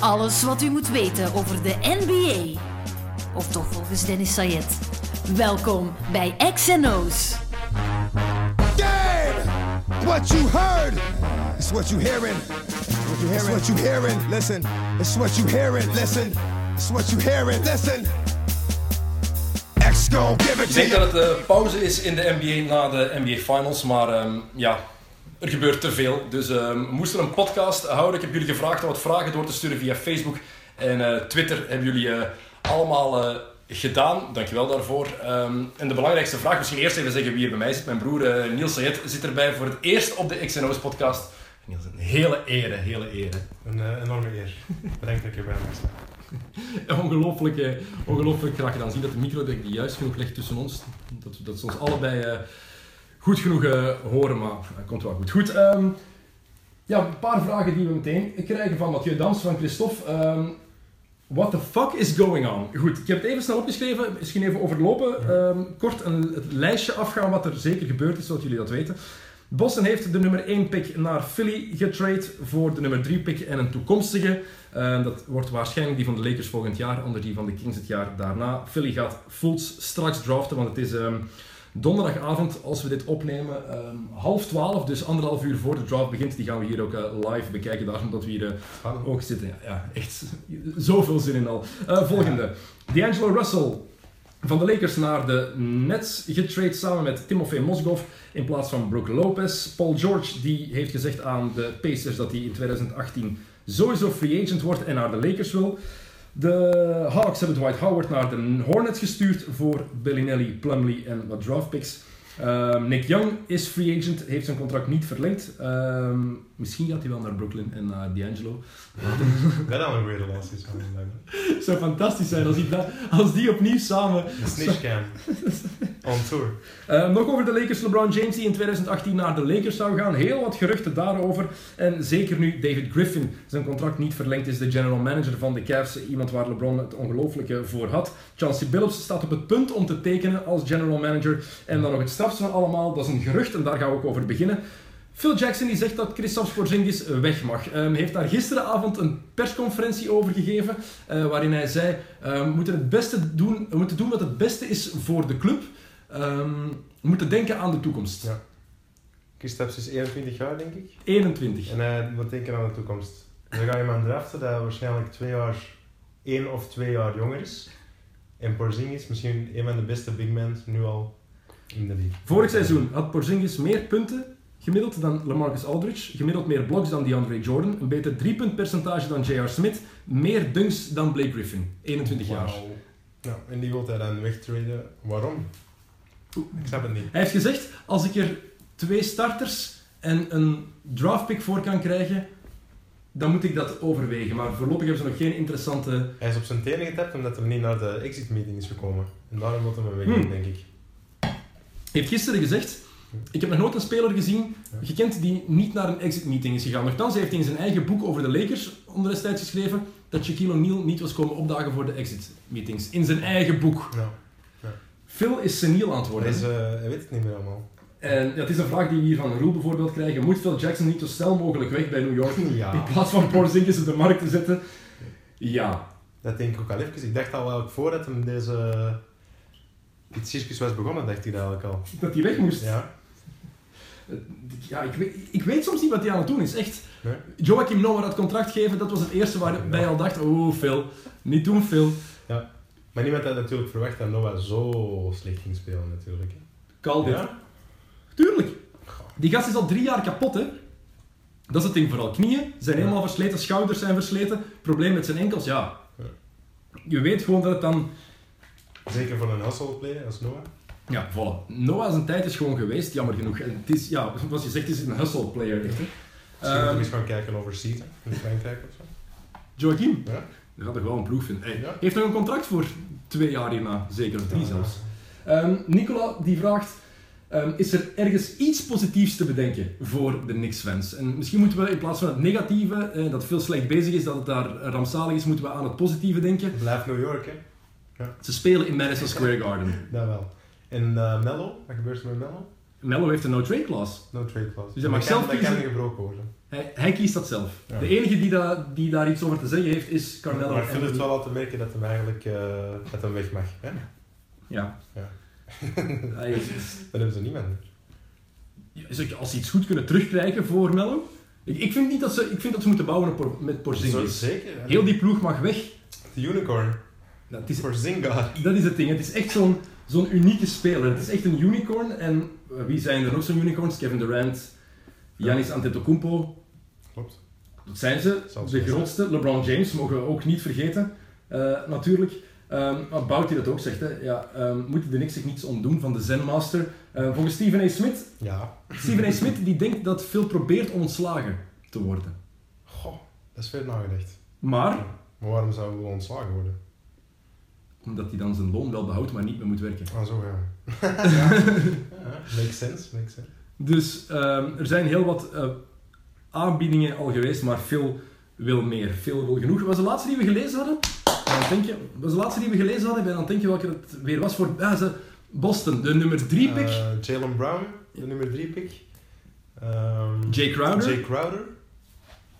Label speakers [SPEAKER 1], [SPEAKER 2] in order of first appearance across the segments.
[SPEAKER 1] Alles wat u moet weten over de NBA. Of toch volgens Dennis Sayed. Welkom bij XNO's.
[SPEAKER 2] Dead. What you heard is what you hearing. What you hearing? It's what you hearing. Listen. It's what you hearing. Listen. It's what you hearing. Listen. X gon' give it
[SPEAKER 3] Ik
[SPEAKER 2] to
[SPEAKER 3] denk
[SPEAKER 2] you.
[SPEAKER 3] dat het eh, pauze is in de NBA na de NBA Finals, maar ehm, ja, er gebeurt te veel. Dus ehm, we moesten een podcast houden. Ik heb jullie gevraagd om wat vragen door te sturen via Facebook en eh, Twitter. Hebben jullie eh, allemaal eh, gedaan. Dankjewel daarvoor. Ehm, en de belangrijkste vraag, misschien eerst even zeggen wie er bij mij zit. Mijn broer eh, Niels Sayed zit erbij voor het eerst op de XNO's podcast. Niels, een hele ere, hele ere.
[SPEAKER 4] Een eh, enorme eer. Bedankt dat ik erbij mag staan.
[SPEAKER 3] Ongelooflijk, eh, ongelooflijk graag gedaan. Zie dat de micro dat ik die juist genoeg legt tussen ons. Dat, dat ze ons allebei eh, goed genoeg eh, horen, maar dat komt wel goed. Goed, ehm, ja, een paar vragen die we meteen krijgen van Mathieu Dans, van Christophe. Ehm what the fuck is going on? Goed, ik heb het even snel opgeschreven, misschien even overlopen. Ehm, kort een, het lijstje afgaan wat er zeker gebeurd is, zodat jullie dat weten. Boston heeft de nummer 1 pick naar Philly getrade voor de nummer 3 pick en een toekomstige. Eh, dat wordt waarschijnlijk die van de Lakers volgend jaar, anders die van de Kings het jaar daarna. Philly gaat Fultz straks draften, want het is ehm, donderdagavond als we dit opnemen. ehm, half twaalf, dus anderhalf uur voor de draft begint. Die gaan we hier ook eh, live bekijken, daarom dat we hier eh, ook zitten. Ja, ja, echt zoveel zin in al. Eh, volgende. D'Angelo Russell van de Lakers naar de Nets getrade samen met Timofey Mozgov in plaats van Brook Lopez. Paul George die heeft gezegd aan de Pacers dat hij in 2018 sowieso free agent wordt en naar de Lakers wil. De Hawks hebben Dwight Howard naar de Hornets gestuurd voor Bellinelli, Plumlee en wat draftpicks. Ehm, Nick Young is free agent, heeft zijn contract niet verlengd. Ehm, misschien gaat hij wel naar Brooklyn en naar D'Angelo.
[SPEAKER 4] Wij hadden een goede relatie samen. blijkbaar.
[SPEAKER 3] Het zou fantastisch zijn als die, als die opnieuw samen
[SPEAKER 4] Een snitchcam. On tour.
[SPEAKER 3] Eh, nog over de Lakers. LeBron James die in 2018 naar de Lakers zou gaan. Heel wat geruchten daarover. En zeker nu David Griffin zijn contract niet verlengd is. De general manager van de Cavs. Iemand waar LeBron het ongelooflijke voor had. Chauncey Billups staat op het punt om te tekenen als general manager. En dan nog het strafste van allemaal. Dat is een gerucht en daar gaan we ook over beginnen. Phil Jackson die zegt dat Christophe Porzingis weg mag. Ehm, heeft daar gisteravond een persconferentie over gegeven, eh, waarin hij zei: ehm, we, moeten het beste doen, we moeten doen wat het beste is voor de club. Ehm, we moeten denken aan de toekomst.
[SPEAKER 4] Ja. Kristaps is 21 jaar, denk ik.
[SPEAKER 3] 21.
[SPEAKER 4] En hij moet denken aan de toekomst. Dan ga je iemand draften dat waarschijnlijk twee jaar, één of twee jaar jonger is. En Porzingis, misschien een van de beste big men nu al in de league.
[SPEAKER 3] Vorig seizoen had Porzingis meer punten gemiddeld dan LaMarcus Aldridge, gemiddeld meer bloks dan DeAndre Jordan, een beter driepuntpercentage dan J.R. Smith, meer dunks dan Blake Griffin. 21 jaar.
[SPEAKER 4] Wauw. Ja, en die wil hij dan wegtraden. Waarom? Ik snap het niet.
[SPEAKER 3] Hij heeft gezegd, als ik er twee starters en een draftpick voor kan krijgen, dan moet ik dat overwegen. Maar voorlopig hebben ze nog geen interessante...
[SPEAKER 4] Hij is op zijn tenen getapt omdat hij niet naar de exit meeting is gekomen. En daarom wil hij hem weg,
[SPEAKER 3] Hmm.
[SPEAKER 4] denk ik.
[SPEAKER 3] Hij heeft gisteren gezegd, ik heb nog nooit een speler gezien, gekend, die niet naar een exit meeting is gegaan. Nochtans, hij heeft in zijn eigen boek over de Lakers onder destijds geschreven dat Shaquille O'Neal niet was komen opdagen voor de exit meetings. In zijn eigen boek.
[SPEAKER 4] Nou,
[SPEAKER 3] Phil is seniel aan het worden.
[SPEAKER 4] Hij, is, eh, hij weet het niet meer allemaal.
[SPEAKER 3] En ja, het is een vraag die we hier van Roel bijvoorbeeld krijgen. Moet Phil Jackson niet zo snel mogelijk weg bij New York?
[SPEAKER 4] Ja.
[SPEAKER 3] In plaats van Porzingis op de markt te zetten? Ja.
[SPEAKER 4] Dat denk ik ook al even. Ik dacht al eigenlijk voordat hem deze... Dit circus was begonnen, dacht ik dat eigenlijk al.
[SPEAKER 3] Dat hij weg moest. Ja,
[SPEAKER 4] Ja.
[SPEAKER 3] Eh, ik, weet, ik weet soms niet wat hij aan het doen is. Echt.
[SPEAKER 4] Nee.
[SPEAKER 3] Joachim Noah dat contract geven, dat was het eerste waarbij je al dacht, oh Phil, niet doen Phil.
[SPEAKER 4] Maar niemand had natuurlijk verwacht dat Noah zo slecht ging spelen, natuurlijk. hè.
[SPEAKER 3] Kal dit.
[SPEAKER 4] Ja?
[SPEAKER 3] Tuurlijk. Die gast is al drie jaar kapot, hè. Dat is het ding vooral. Knieën zijn
[SPEAKER 4] Ja.
[SPEAKER 3] helemaal versleten, schouders zijn versleten. Probleem met zijn enkels, ja.
[SPEAKER 4] Ja.
[SPEAKER 3] Je weet gewoon dat het dan...
[SPEAKER 4] Zeker voor een hustle play als Noah.
[SPEAKER 3] Ja, voilà. Noah zijn tijd is gewoon geweest, jammer genoeg. En het is, ja, zoals je zegt, het is een hustle player, echt. hè.
[SPEAKER 4] Misschien moeten we
[SPEAKER 3] Ehm,
[SPEAKER 4] eens gaan kijken over Seaton in Frankrijk of zo.
[SPEAKER 3] Joachim,
[SPEAKER 4] Ja?
[SPEAKER 3] daar gaat er wel een ploeg vinden. Hey,
[SPEAKER 4] Ja. Ah,
[SPEAKER 3] Heeft nog een contract voor twee jaar hierna, zeker of drie zelfs. Ehm, Nicola die vraagt: ehm, Is er ergens iets positiefs te bedenken voor de Knicks-fans? En misschien moeten we in plaats van het negatieve, eh, dat veel slecht bezig is, dat het daar rampzalig is, moeten we aan het positieve denken.
[SPEAKER 4] Blijf New York, hè.
[SPEAKER 3] Ze spelen in Madison Square Garden.
[SPEAKER 4] Dat wel. En eh, Mello? Wat gebeurt er met Mello?
[SPEAKER 3] Melo heeft een no-trade clause.
[SPEAKER 4] No trade clause.
[SPEAKER 3] Dus hij mag
[SPEAKER 4] Dat
[SPEAKER 3] zelf
[SPEAKER 4] kan- Dat kan
[SPEAKER 3] kiezen.
[SPEAKER 4] gebroken worden.
[SPEAKER 3] Hij, hij kiest dat zelf.
[SPEAKER 4] Ja.
[SPEAKER 3] De enige die, da- die daar iets over te zeggen heeft, is Carmelo.
[SPEAKER 4] Maar ik vind het
[SPEAKER 3] Anthony.
[SPEAKER 4] wel laten merken dat hem eigenlijk eh, dat hem weg mag. Hè?
[SPEAKER 3] Ja.
[SPEAKER 4] Ja.
[SPEAKER 3] Hij is-
[SPEAKER 4] Dat hebben ze niet meer.
[SPEAKER 3] Ja, is ook- als ze iets goed kunnen terugkrijgen voor Melo. Ik, ik, vind niet dat ze, ik vind dat ze moeten bouwen op, Por- met
[SPEAKER 4] Zo,
[SPEAKER 3] Porzingis.
[SPEAKER 4] Zeker. hè.
[SPEAKER 3] Heel die ploeg mag weg.
[SPEAKER 4] De unicorn.
[SPEAKER 3] Nou, het is,
[SPEAKER 4] Voor Zinga.
[SPEAKER 3] dat is het ding. Het is echt zo'n zo'n unieke speler. Het is echt een unicorn. En eh, wie zijn er nog zo'n unicorns? Kevin Durant, Giannis Antetokounmpo.
[SPEAKER 4] Klopt.
[SPEAKER 3] Dat zijn ze.
[SPEAKER 4] Zelfs
[SPEAKER 3] de
[SPEAKER 4] best, hè?
[SPEAKER 3] grootste. LeBron James mogen we ook niet vergeten. eh, natuurlijk. Ehm wat Bouty dat ook zegt. Hè. Ja, ehm, moeten de niks zich niets ontdoen van de Zenmaster. Eh volgens Stephen A. Smith
[SPEAKER 4] Ja.
[SPEAKER 3] Steven A. Smith die denkt dat Phil probeert om ontslagen te worden.
[SPEAKER 4] Goh, dat is veel nagedacht.
[SPEAKER 3] Maar,
[SPEAKER 4] Maar waarom zou hij wel ontslagen worden?
[SPEAKER 3] omdat hij dan zijn loon wel behoudt, maar niet meer moet werken.
[SPEAKER 4] Ah, zo ja. ja. ja. Makes sense, makes sense.
[SPEAKER 3] Dus ehm, er zijn heel wat eh, aanbiedingen al geweest, maar Phil wil meer. Phil wil genoeg. Was de laatste die we gelezen hadden? En Dan denk je, was de laatste die we gelezen hadden? En dan denk je welke het weer was voor ah, ze- Boston. De nummer 3 pick,
[SPEAKER 4] Eh, Jalen Brown, de nummer 3 pick. Ehm,
[SPEAKER 3] Jay Crowder.
[SPEAKER 4] Jay Crowder.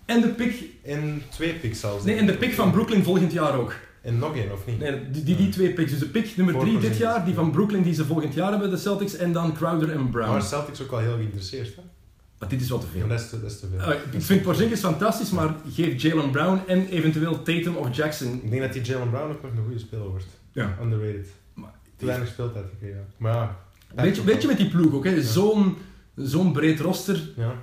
[SPEAKER 3] En de pick,
[SPEAKER 4] En twee picks zelfs.
[SPEAKER 3] nee, en de pick van Brooklyn volgend jaar ook.
[SPEAKER 4] En nog één, of niet?
[SPEAKER 3] Nee, die,
[SPEAKER 4] Eh.
[SPEAKER 3] die, die twee picks. Dus de pick nummer 3 dit
[SPEAKER 4] Voorprogrammeerd.
[SPEAKER 3] jaar, die van Brooklyn die ze volgend jaar hebben, de Celtics. En dan Crowder en
[SPEAKER 4] Maar
[SPEAKER 3] Brown.
[SPEAKER 4] Celtics ook al heel geïnteresseerd. Hè?
[SPEAKER 3] Maar dit is wel te veel.
[SPEAKER 4] Maar dat is te, dat is te veel.
[SPEAKER 3] Eh, ik vind Porzingis fantastisch, maar geef Jalen Brown en eventueel Tatum of Jackson.
[SPEAKER 4] Ik denk dat die Jalen Brown ook nog een goede speler wordt.
[SPEAKER 3] Ja.
[SPEAKER 4] Underrated.
[SPEAKER 3] Maar-
[SPEAKER 4] Te weinig speeltijd gekregen. ja. Maar ja.
[SPEAKER 3] Weet je, weet je met die ploeg ook, hè? Zo'n, zo'n breed roster.
[SPEAKER 4] Ja.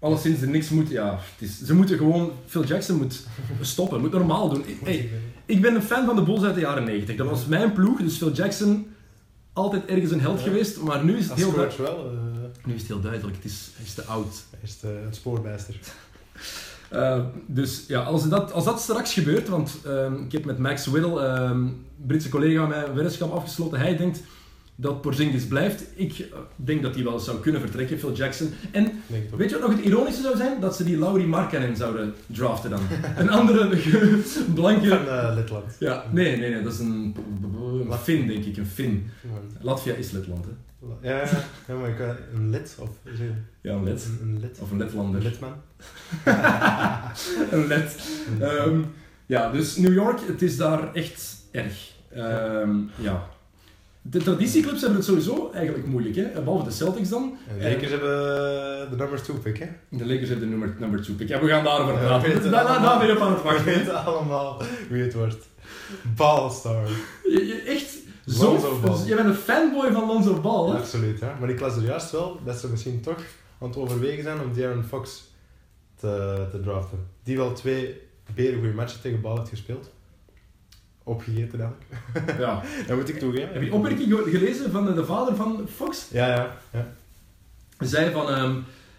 [SPEAKER 3] Alleszins er niks moet. Ja, het is, ze moeten gewoon. Phil Jackson moet stoppen, moet normaal doen. Ik- Hey, ik ben een fan van de Bulls uit de jaren 90. Dat was mijn ploeg, dus Phil Jackson altijd ergens een held
[SPEAKER 4] Ja.
[SPEAKER 3] geweest. Maar nu is het
[SPEAKER 4] Als
[SPEAKER 3] heel,
[SPEAKER 4] coach
[SPEAKER 3] duidelijk.
[SPEAKER 4] wel, eh,
[SPEAKER 3] nu is het heel duidelijk. Het is, hij is te oud.
[SPEAKER 4] hij is eh, het spoorbijster.
[SPEAKER 3] Eh, dus ja, als dat, als dat straks gebeurt, want ehm, ik heb met Max Whittle, ehm, Britse collega, mijn weddenschap afgesloten. Hij denkt dat Porzingis blijft. Ik eh, denk dat hij wel zou kunnen vertrekken, Phil Jackson. En
[SPEAKER 4] Denk het ook.
[SPEAKER 3] weet je wat nog het ironische zou zijn? Dat ze die Lauri Markkanen zouden draften dan. Een andere
[SPEAKER 4] Van
[SPEAKER 3] blanke...
[SPEAKER 4] eh, Letland.
[SPEAKER 3] Ja, nee, nee, nee, dat is een, een Fin, denk ik, een Fin. Latvia is Letland, hè?
[SPEAKER 4] Ja, ja, ja, maar ik, eh, een lid of is het-
[SPEAKER 3] Ja, een Let.
[SPEAKER 4] Een, een lid.
[SPEAKER 3] Of een
[SPEAKER 4] Een
[SPEAKER 3] Letlander.
[SPEAKER 4] lidman.
[SPEAKER 3] Een led. Ehm, ja, dus New York, het is daar echt erg. Ehm, ja. De traditieclubs hebben het sowieso eigenlijk moeilijk, hè? behalve de Celtics dan.
[SPEAKER 4] En de Lakers hebben eh, de numbers 2 pick, hè?
[SPEAKER 3] De Lakers hebben de nummer, number two pick. Ja, we gaan daarover
[SPEAKER 4] Ja,
[SPEAKER 3] praten.
[SPEAKER 4] we weten
[SPEAKER 3] Daar- daar,
[SPEAKER 4] allemaal.
[SPEAKER 3] daar ben je op aan het
[SPEAKER 4] We
[SPEAKER 3] wachten. hè.
[SPEAKER 4] weten allemaal wie het wordt. Ballstar.
[SPEAKER 3] Je, je- echt
[SPEAKER 4] Lonzo
[SPEAKER 3] zo...
[SPEAKER 4] Ball.
[SPEAKER 3] Je bent een fanboy van Lonzo Ball, hè?
[SPEAKER 4] Absoluut, hè? Maar ik las er juist wel dat ze misschien toch aan het overwegen zijn om Darren Fox te, te draften. Die wel twee beren goede matchen tegen Ball heeft gespeeld. Opgegeten eigenlijk.
[SPEAKER 3] Ja.
[SPEAKER 4] Dat moet ik toegeven.
[SPEAKER 3] Heb je opmerking ge- gelezen van de, de vader van Fox?
[SPEAKER 4] Ja, ja, ja.
[SPEAKER 3] Hij zei van... ehm,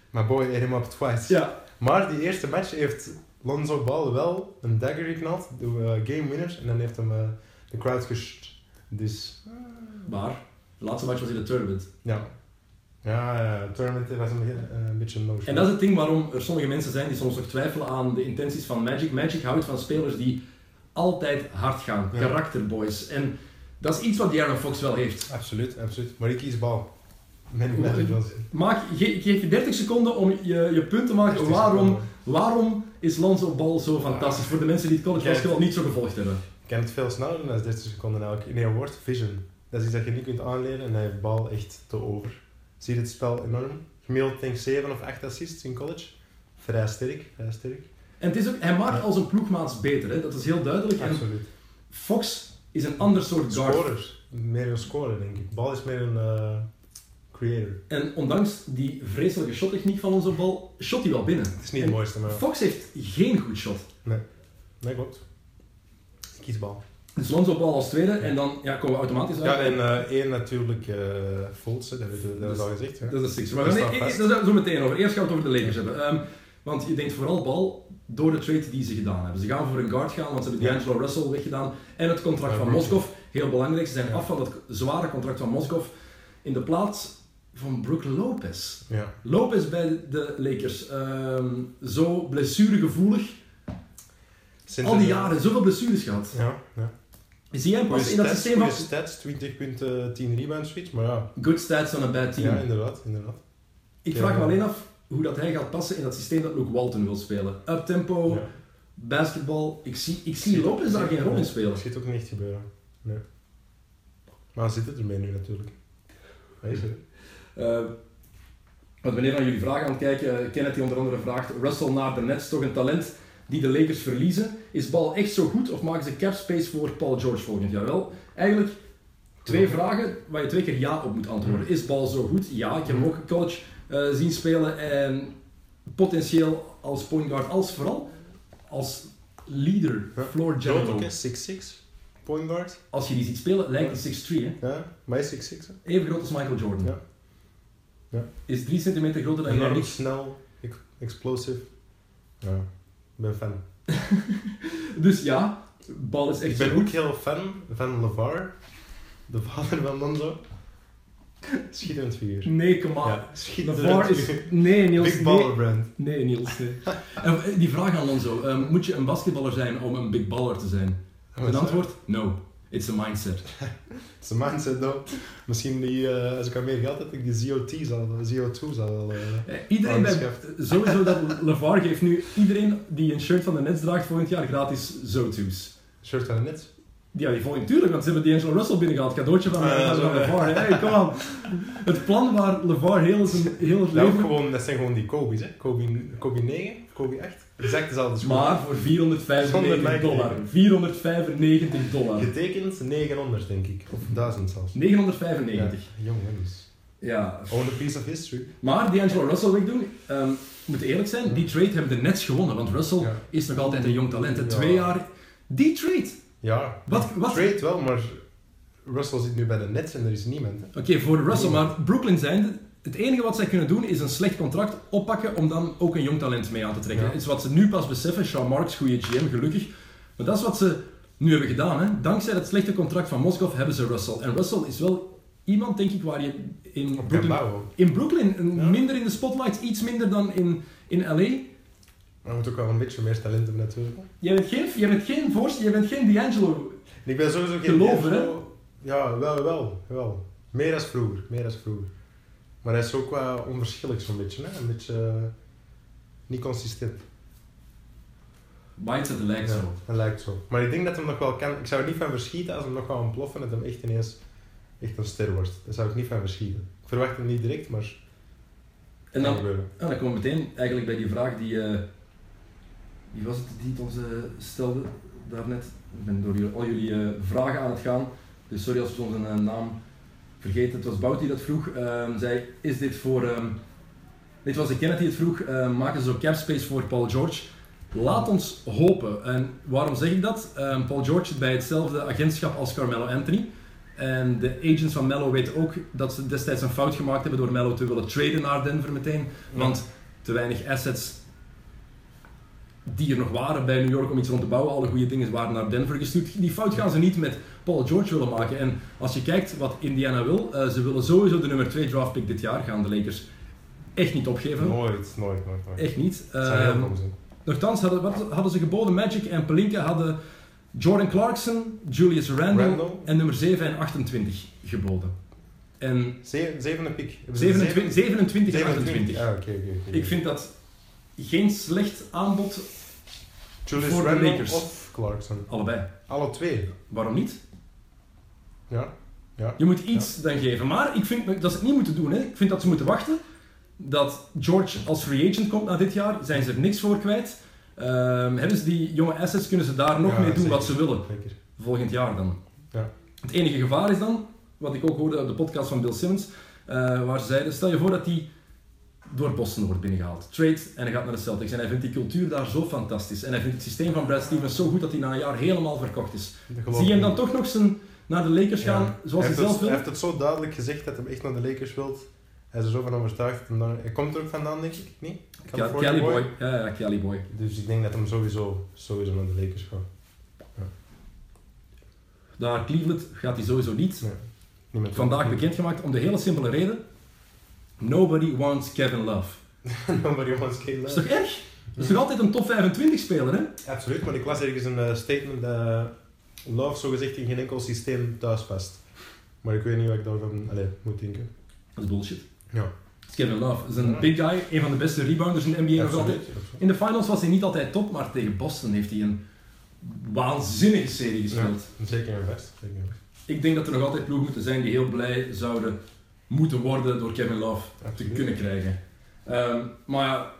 [SPEAKER 4] Maar boy, hit him up twice.
[SPEAKER 3] ja,
[SPEAKER 4] Maar die eerste match heeft Lonzo Ball wel een dagger geknald. De eh, game winners. En dan heeft hem eh, de crowd gesht. Dus,
[SPEAKER 3] maar... De laatste match was in de tournament.
[SPEAKER 4] ja. Ja, ja, het tournament was een, eh, een beetje een no-show.
[SPEAKER 3] En dat is het ding waarom er sommige mensen zijn die soms nog twijfelen aan de intenties van Magic. Magic houdt van spelers die altijd hard gaan,
[SPEAKER 4] Ja.
[SPEAKER 3] karakterboys. En dat is iets wat Darren Fox wel heeft.
[SPEAKER 4] Absoluut, absoluut. Maar ik kies Ball. Mijn Magic Johnson.
[SPEAKER 3] Maak, ge- ik geef je 30 seconden om je, je punt te maken. Waarom, waarom is Lonzo Ball zo fantastisch? Voor de mensen die het college
[SPEAKER 4] Kijk.
[SPEAKER 3] basketbal niet zo gevolgd hebben.
[SPEAKER 4] Ik kan het veel sneller doen dan 30 seconden elk. In één woord, vision. Dat is iets dat je niet kunt aanleren en hij heeft bal echt te over. Zie je dit spel enorm. Gemiddeld denk ik 7 of 8 assists in college. Vrij sterk, vrij sterk.
[SPEAKER 3] En het is ook, hij maakt als een ploegmaats beter, hè? dat is heel duidelijk. En
[SPEAKER 4] Absoluut.
[SPEAKER 3] Fox is een ander soort guard.
[SPEAKER 4] Scorers. Meer een scorer, denk ik. Bal is meer een eh, creator.
[SPEAKER 3] En ondanks die vreselijke shottechniek van onze bal, shot hij wel binnen.
[SPEAKER 4] Het is niet
[SPEAKER 3] En
[SPEAKER 4] het mooiste, maar...
[SPEAKER 3] Fox heeft geen goed shot.
[SPEAKER 4] Nee, klopt. Ik kies bal.
[SPEAKER 3] Dus Lonzo Ball als tweede en dan ja, komen we automatisch
[SPEAKER 4] Ja,
[SPEAKER 3] uit.
[SPEAKER 4] en eh, één natuurlijk eh Fultz, hè. dat hebben we dat hebben we al gezegd. hè.
[SPEAKER 3] Dat is six. Maar
[SPEAKER 4] Dat
[SPEAKER 3] nee,
[SPEAKER 4] staat
[SPEAKER 3] ik-
[SPEAKER 4] vast.
[SPEAKER 3] daar zijn we zo meteen over. Eerst gaan we het over de Lakers hebben. Ehm, want je denkt vooral Ball door de trade die ze gedaan hebben. Ze gaan voor een guard gaan, want ze hebben
[SPEAKER 4] Ja.
[SPEAKER 3] D'Angelo Russell weggedaan. En het contract
[SPEAKER 4] Ja,
[SPEAKER 3] van
[SPEAKER 4] Brooklyn.
[SPEAKER 3] Moskov, heel belangrijk. Ze zijn
[SPEAKER 4] Ja.
[SPEAKER 3] af van dat zware contract van Moskov in de plaats van Brook Lopez.
[SPEAKER 4] Ja.
[SPEAKER 3] Lopez bij de Lakers. Ehm, zo blessuregevoelig.
[SPEAKER 4] Sinds
[SPEAKER 3] Al die
[SPEAKER 4] een-
[SPEAKER 3] jaren, zoveel blessures gehad.
[SPEAKER 4] Ja, ja.
[SPEAKER 3] Zie jij hem
[SPEAKER 4] Goeie
[SPEAKER 3] passen in dat
[SPEAKER 4] stats,
[SPEAKER 3] systeem van...
[SPEAKER 4] goeie stats, 20 punten, 10 rebounds, zoiets. Maar ja,
[SPEAKER 3] Good stats on a bad team.
[SPEAKER 4] ja inderdaad, inderdaad.
[SPEAKER 3] Ik vraag me
[SPEAKER 4] Ja.
[SPEAKER 3] alleen af hoe dat hij gaat passen in dat systeem dat Luke Walton wil spelen. Up-tempo,
[SPEAKER 4] Ja.
[SPEAKER 3] basketbal. Ik zie, ik zie Lopez daar geen rol in spelen.
[SPEAKER 4] Dat ziet ook niet echt gebeuren. Nee. Maar hij zit het ermee nu natuurlijk. Hij is er.
[SPEAKER 3] Eh, want wanneer naar jullie vragen aan het kijken, eh, Kenneth die onder andere vraagt, Russell naar de Nets, toch een talent die de Lakers verliezen. Is bal echt zo goed of maken ze cap space voor Paul George volgend jaar wel? Eigenlijk twee vragen waar je twee keer ja op moet antwoorden. Is bal zo goed? Ja, ik heb hem ook een coach eh, zien spelen en potentieel als point guard, als vooral als leader,
[SPEAKER 4] Ja.
[SPEAKER 3] floor
[SPEAKER 4] Groot ook,
[SPEAKER 3] general.
[SPEAKER 4] hè, 6'6. Point guard.
[SPEAKER 3] Als je die ziet spelen, lijkt hij 6'3 hè.
[SPEAKER 4] Ja, maar hij is 6'6. hè.
[SPEAKER 3] Even groot als Michael Jordan.
[SPEAKER 4] Ja. Ja.
[SPEAKER 3] Is 3 centimeter groter dan
[SPEAKER 4] En dan
[SPEAKER 3] Jordan.
[SPEAKER 4] ook snel, ex- explosive. Ja, ik ben fan.
[SPEAKER 3] Dus ja, bal is echt
[SPEAKER 4] Ik
[SPEAKER 3] zo
[SPEAKER 4] ben
[SPEAKER 3] goed.
[SPEAKER 4] ook heel fan van LeVar, de vader van Lonzo. Schitterend figuur.
[SPEAKER 3] Nee, kom maar.
[SPEAKER 4] Ja, schitterend
[SPEAKER 3] LeVar is...
[SPEAKER 4] figuur.
[SPEAKER 3] Nee, Niels. Nee,
[SPEAKER 4] Big baller brand.
[SPEAKER 3] nee Niels. nee. Eh, die vraag aan Lonzo. ehm, moet je een basketballer zijn om een big baller te zijn? Zijn antwoord? No. It's a mindset.
[SPEAKER 4] Zijn mindset dan. Misschien die, eh, als ik al meer geld heb, ik die ZOT zal, ZO2 zal wel... eh,
[SPEAKER 3] Eh, iedereen bij...
[SPEAKER 4] Aangeschaft.
[SPEAKER 3] Sowieso dat LeVar geeft nu iedereen die een shirt van de Nets draagt volgend jaar gratis zo-to's.
[SPEAKER 4] shirt aan net.
[SPEAKER 3] Ja, die volgende natuurlijk, want ze hebben D'Angelo Russell binnengehaald. Cadeautje van,
[SPEAKER 4] Ah, ja,
[SPEAKER 3] van
[SPEAKER 4] zo, ja.
[SPEAKER 3] LeVar. Hey, kom aan. Het plan waar LeVar heel, zijn, heel het
[SPEAKER 4] Ja, ook
[SPEAKER 3] leven...
[SPEAKER 4] gewoon, dat zijn gewoon die Kobe's, hè. Kobe, Kobe 9 of Kobe 8. Exact dezelfde schoen.
[SPEAKER 3] Maar voor 495 dollar. 495 dollar.
[SPEAKER 4] Getekend 900, denk ik. Of 1000 zelfs.
[SPEAKER 3] 995.
[SPEAKER 4] Ja, jong jongens.
[SPEAKER 3] Ja.
[SPEAKER 4] Own a piece of history.
[SPEAKER 3] Maar D'Angelo Russell wegdoen, ehm moet eerlijk zijn, die trade hebben de Nets gewonnen. Want Russell
[SPEAKER 4] Ja.
[SPEAKER 3] is nog altijd een jong talent. En
[SPEAKER 4] Ja.
[SPEAKER 3] twee jaar... Die trade!
[SPEAKER 4] Ja.
[SPEAKER 3] Wat- wat-
[SPEAKER 4] Trade wel, maar Russell zit nu bij de Nets en er is niemand. hè.
[SPEAKER 3] Oké, voor Russell, maar Brooklyn zijn... Het enige wat zij kunnen doen is een slecht contract oppakken om dan ook een jong talent mee aan te trekken.
[SPEAKER 4] Ja.
[SPEAKER 3] Dat is wat ze nu pas beseffen. Sean Marks, goede GM, gelukkig. Maar dat is wat ze nu hebben gedaan. Hè. Dankzij dat slechte contract van Moskov hebben ze Russell. En Russell is wel iemand, denk ik, waar je in
[SPEAKER 4] Op
[SPEAKER 3] Brooklyn...
[SPEAKER 4] Cambao.
[SPEAKER 3] In Brooklyn, een-
[SPEAKER 4] Ja.
[SPEAKER 3] minder in de spotlight, iets minder dan in, in L.A.
[SPEAKER 4] Maar moet ook wel een beetje meer talent hebben natuurlijk.
[SPEAKER 3] Jij bent geen, jij bent geen voorst, jij bent geen D'Angelo.
[SPEAKER 4] En ik ben sowieso geen...
[SPEAKER 3] Geloven, hè?
[SPEAKER 4] Ja, wel, wel, wel. Meer als vroeger, meer als vroeger. Maar hij is ook qua onverschillig zo'n beetje, hè. Een beetje... eh, niet consistent.
[SPEAKER 3] Bites at the legs.
[SPEAKER 4] Ja, dat lijkt zo. Maar ik denk dat hem nog wel kan. Ik zou er niet van verschieten als hem nog wel ontploffen. Dat hem echt ineens echt een ster wordt. Daar zou ik niet van verschieten. Ik verwacht hem niet direct, maar.
[SPEAKER 3] En
[SPEAKER 4] kan
[SPEAKER 3] dan,
[SPEAKER 4] gebeuren.
[SPEAKER 3] ah, dan komen we meteen eigenlijk bij die vraag die... eh, wie was het die het ons eh, stelde daarnet? Ik ben door jullie- al jullie eh, vragen aan het gaan. Dus sorry als we onze eh, naam vergeten. Het was Bout die dat vroeg. Ehm zei, is dit voor... ehm, dit was de Kenneth die het vroeg. ehm, maken ze zo capspace voor Paul George? Laat ons hopen. En waarom zeg ik dat? Ehm, Paul George zit bij hetzelfde agentschap als Carmelo Anthony. En de agents van Melo weten ook dat ze destijds een fout gemaakt hebben door Melo te willen traden naar Denver meteen. Want te weinig assets die er nog waren bij New York om iets rond te bouwen. Alle goede dingen waren naar Denver gestuurd. Die fout gaan ze niet met Paul George willen maken. En als je kijkt wat Indiana wil, eh, ze willen sowieso de nummer 2 draft pick dit jaar gaan de Lakers echt niet opgeven.
[SPEAKER 4] Nooit, nooit, nooit. nooit.
[SPEAKER 3] Echt niet.
[SPEAKER 4] Het zou heel
[SPEAKER 3] Ehm,
[SPEAKER 4] dom zijn.
[SPEAKER 3] Nochtans hadden, wat hadden ze geboden Magic en Pelinka hadden Jordan Clarkson, Julius Randle,
[SPEAKER 4] Randle.
[SPEAKER 3] en nummer 7 en 28 geboden. En
[SPEAKER 4] Ze- Zevende pick. Hebben ze
[SPEAKER 3] 27, 27 en
[SPEAKER 4] Dus zeven-
[SPEAKER 3] 28.
[SPEAKER 4] Ah, oké, oké. oké.
[SPEAKER 3] Ik vind dat geen slecht aanbod,
[SPEAKER 4] Julius
[SPEAKER 3] voor de
[SPEAKER 4] Randle
[SPEAKER 3] Lakers.
[SPEAKER 4] of Clarkson.
[SPEAKER 3] allebei.
[SPEAKER 4] Alle twee.
[SPEAKER 3] Waarom niet?
[SPEAKER 4] Ja. Ja.
[SPEAKER 3] Je moet iets dan geven. Maar ik vind dat ze het niet moeten doen. Hè. Ik vind dat ze moeten wachten. Dat George als free agent komt na dit jaar, zijn ze er niks voor kwijt. Ehm, hebben ze die jonge assets, kunnen ze daar nog
[SPEAKER 4] Ja,
[SPEAKER 3] mee doen
[SPEAKER 4] zeker.
[SPEAKER 3] wat ze willen.
[SPEAKER 4] Lekker.
[SPEAKER 3] Volgend jaar dan.
[SPEAKER 4] Ja.
[SPEAKER 3] Het enige gevaar is dan, wat ik ook hoorde op de podcast van Bill Simmons, eh, waar ze zeiden, stel je voor dat hij door Boston wordt binnengehaald. Trade en hij gaat naar de Celtics. En hij vindt die cultuur daar zo fantastisch. En hij vindt het systeem van Brad Stevens zo goed dat hij na een jaar helemaal verkocht is.
[SPEAKER 4] Dat geloof
[SPEAKER 3] Zie je hem dan
[SPEAKER 4] ik niet.
[SPEAKER 3] toch nog zijn, naar de Lakers
[SPEAKER 4] Ja.
[SPEAKER 3] gaan, zoals hij
[SPEAKER 4] heeft
[SPEAKER 3] zelf
[SPEAKER 4] het,
[SPEAKER 3] wil?
[SPEAKER 4] Hij heeft het zo duidelijk gezegd dat hij echt naar de Lakers wilt. Hij is er zo van overtuigd. dat hem daar- Hij komt er ook vandaan, denk ik, niet?
[SPEAKER 3] Kelly,
[SPEAKER 4] California boy.
[SPEAKER 3] Boy. Ja, ja, Kelly Boy.
[SPEAKER 4] Dus ik denk dat hem sowieso, sowieso naar de Lakers gaat.
[SPEAKER 3] Naar Cleveland gaat hij sowieso niet.
[SPEAKER 4] Nee. Niemand
[SPEAKER 3] Vandaag bekendgemaakt om de hele simpele reden. Nobody wants Kevin Love.
[SPEAKER 4] Nobody wants Kate
[SPEAKER 3] Dat is
[SPEAKER 4] Love.
[SPEAKER 3] toch erg? Dat is toch altijd een top 25 speler, hè?
[SPEAKER 4] Absoluut, maar ik las ergens een eh, statement dat Love zogezegd in geen enkel systeem thuis past. Maar ik weet niet wat ik daarvan allez, moet denken.
[SPEAKER 3] Dat is bullshit.
[SPEAKER 4] Ja,
[SPEAKER 3] Dus Kevin Love is een big guy, een van de beste rebounders in de NBA nog altijd. In de finals was hij niet altijd top, maar tegen Boston heeft hij een waanzinnige serie gespeeld.
[SPEAKER 4] Ja, zeker en vast. Zeker en vast.
[SPEAKER 3] Ik denk dat er nog altijd ploegen moeten zijn die heel blij zouden moeten worden door Kevin Love te
[SPEAKER 4] Absoluut.
[SPEAKER 3] kunnen krijgen. Ehm, maar ja,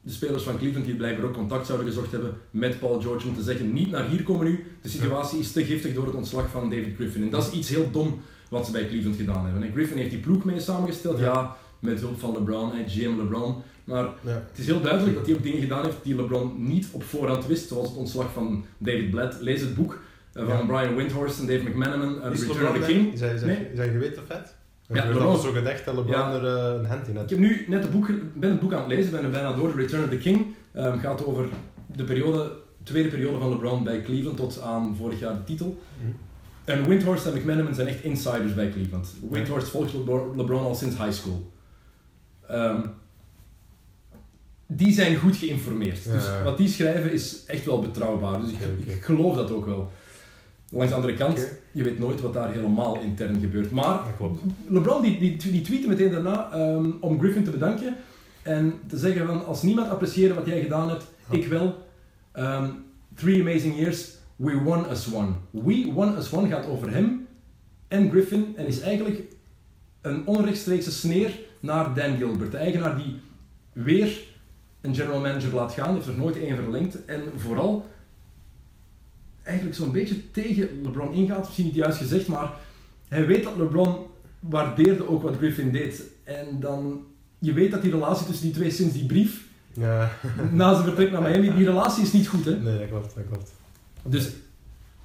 [SPEAKER 3] de spelers van Cleveland die blijkbaar ook contact zouden gezocht hebben met Paul George om te zeggen niet naar hier komen nu. De situatie is te giftig door het ontslag van David Griffin. En dat is iets heel dom wat ze bij Cleveland gedaan hebben. En Griffin heeft die ploeg mee samengesteld,
[SPEAKER 4] Ja.
[SPEAKER 3] ja, met hulp van LeBron en GM LeBron. Maar
[SPEAKER 4] Ja.
[SPEAKER 3] het is heel duidelijk dat hij ook dingen gedaan heeft die LeBron niet op voorhand wist, zoals het ontslag van David Blatt. Lees het boek eh, van
[SPEAKER 4] Ja.
[SPEAKER 3] Brian Windhorst en Dave McManaman, eh,
[SPEAKER 4] Is
[SPEAKER 3] Return of the
[SPEAKER 4] LeBron
[SPEAKER 3] King.
[SPEAKER 4] daar? Is hij, is hij,
[SPEAKER 3] Nee.
[SPEAKER 4] is hij geweten feit?
[SPEAKER 3] Ja,
[SPEAKER 4] Ja, ik
[SPEAKER 3] LeBron.
[SPEAKER 4] had zo gedacht dat LeBron
[SPEAKER 3] Ja.
[SPEAKER 4] er eh, een hand in
[SPEAKER 3] Ik
[SPEAKER 4] had.
[SPEAKER 3] heb nu net het boek, ben het boek aan het lezen, ben er bijna door. Return of the King ehm, gaat over de periode, tweede periode van LeBron bij Cleveland tot aan vorig jaar de titel.
[SPEAKER 4] Mhm.
[SPEAKER 3] En Windhorst en McManaman zijn echt insiders bij Cleveland. Windhorst volgt LeBron, LeBron al sinds high school. Ehm, die zijn goed geïnformeerd.
[SPEAKER 4] Ja,
[SPEAKER 3] Dus
[SPEAKER 4] ja.
[SPEAKER 3] wat die schrijven is echt wel betrouwbaar. Dus ik,
[SPEAKER 4] Oké,
[SPEAKER 3] ik geloof dat ook wel. Langs de andere kant,
[SPEAKER 4] Oké.
[SPEAKER 3] je weet nooit wat daar helemaal intern gebeurt. Maar
[SPEAKER 4] Dat klopt.
[SPEAKER 3] LeBron die, die, die tweette meteen daarna ehm, om Griffin te bedanken en te zeggen van als niemand apprecieerde wat jij gedaan hebt,
[SPEAKER 4] Ja.
[SPEAKER 3] ik wel. Ehm, three amazing years, we won as one. We won as one gaat over hem en Griffin en is eigenlijk een onrechtstreekse sneer naar Dan Gilbert, de eigenaar die weer een general manager laat gaan, heeft er nooit één verlengd en vooral eigenlijk zo'n beetje tegen LeBron ingaat, misschien niet juist gezegd, maar hij weet dat LeBron waardeerde ook wat Griffin deed. En dan, je weet dat die relatie tussen die twee sinds die brief,
[SPEAKER 4] Ja,
[SPEAKER 3] na zijn vertrek naar Miami, die relatie is niet goed. Hè?
[SPEAKER 4] nee, dat klopt, dat klopt.
[SPEAKER 3] Dus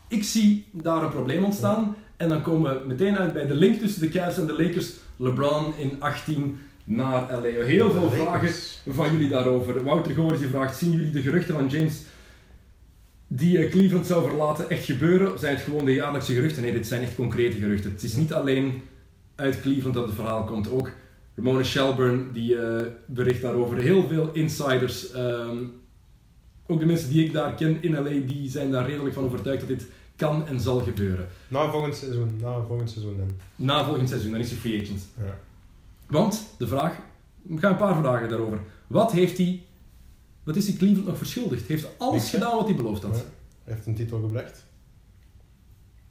[SPEAKER 3] ik zie daar een probleem ontstaan. En dan komen we meteen uit bij de link tussen de Cavs en de Lakers. LeBron in 18 naar LA. Heel veel
[SPEAKER 4] De Lakers.
[SPEAKER 3] vragen van jullie daarover. Wouter Goris die vraagt, zien jullie de geruchten van James die eh, Cleveland zou verlaten echt gebeuren? Of zijn het gewoon de jaarlijkse geruchten? Nee, dit zijn echt concrete geruchten. Het is niet alleen uit Cleveland dat het verhaal komt, ook Ramona Shelburne die eh, bericht daarover. Heel veel insiders, ehm, ook de mensen die ik daar ken in LA, die zijn daar redelijk van overtuigd dat dit kan en zal gebeuren.
[SPEAKER 4] Na volgend seizoen, na volgend seizoen dan.
[SPEAKER 3] Na volgend seizoen, dan is hij free agent.
[SPEAKER 4] Ja.
[SPEAKER 3] Want de vraag, ik ga een paar vragen daarover. Wat heeft hij, wat is hij Cleveland nog verschuldigd? Hij Heeft alles
[SPEAKER 4] Niks, hè?
[SPEAKER 3] gedaan wat hij beloofd
[SPEAKER 4] Ja.
[SPEAKER 3] had?
[SPEAKER 4] Hij heeft een titel gebracht.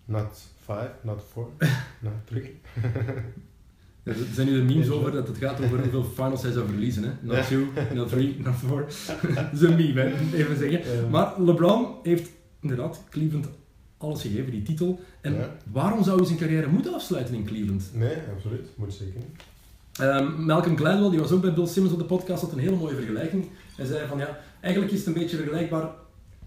[SPEAKER 4] Not 5, not 4, not 3.
[SPEAKER 3] Er zijn nu de memes
[SPEAKER 4] Ja.
[SPEAKER 3] over dat het gaat over hoeveel finals hij zou verliezen. Hè?
[SPEAKER 4] Ja.
[SPEAKER 3] Not 2, not 3, not 4. Dat is een meme, hè? even zeggen. Maar LeBron heeft inderdaad Cleveland alles gegeven, die titel. En
[SPEAKER 4] Ja.
[SPEAKER 3] waarom zou hij zijn carrière moeten afsluiten in Cleveland?
[SPEAKER 4] Nee, absoluut. Moet zeker niet.
[SPEAKER 3] Ehm, Malcolm Gladwell, die was ook bij Bill Simmons op de podcast, had een hele mooie vergelijking. Hij zei van ja, eigenlijk is het een beetje vergelijkbaar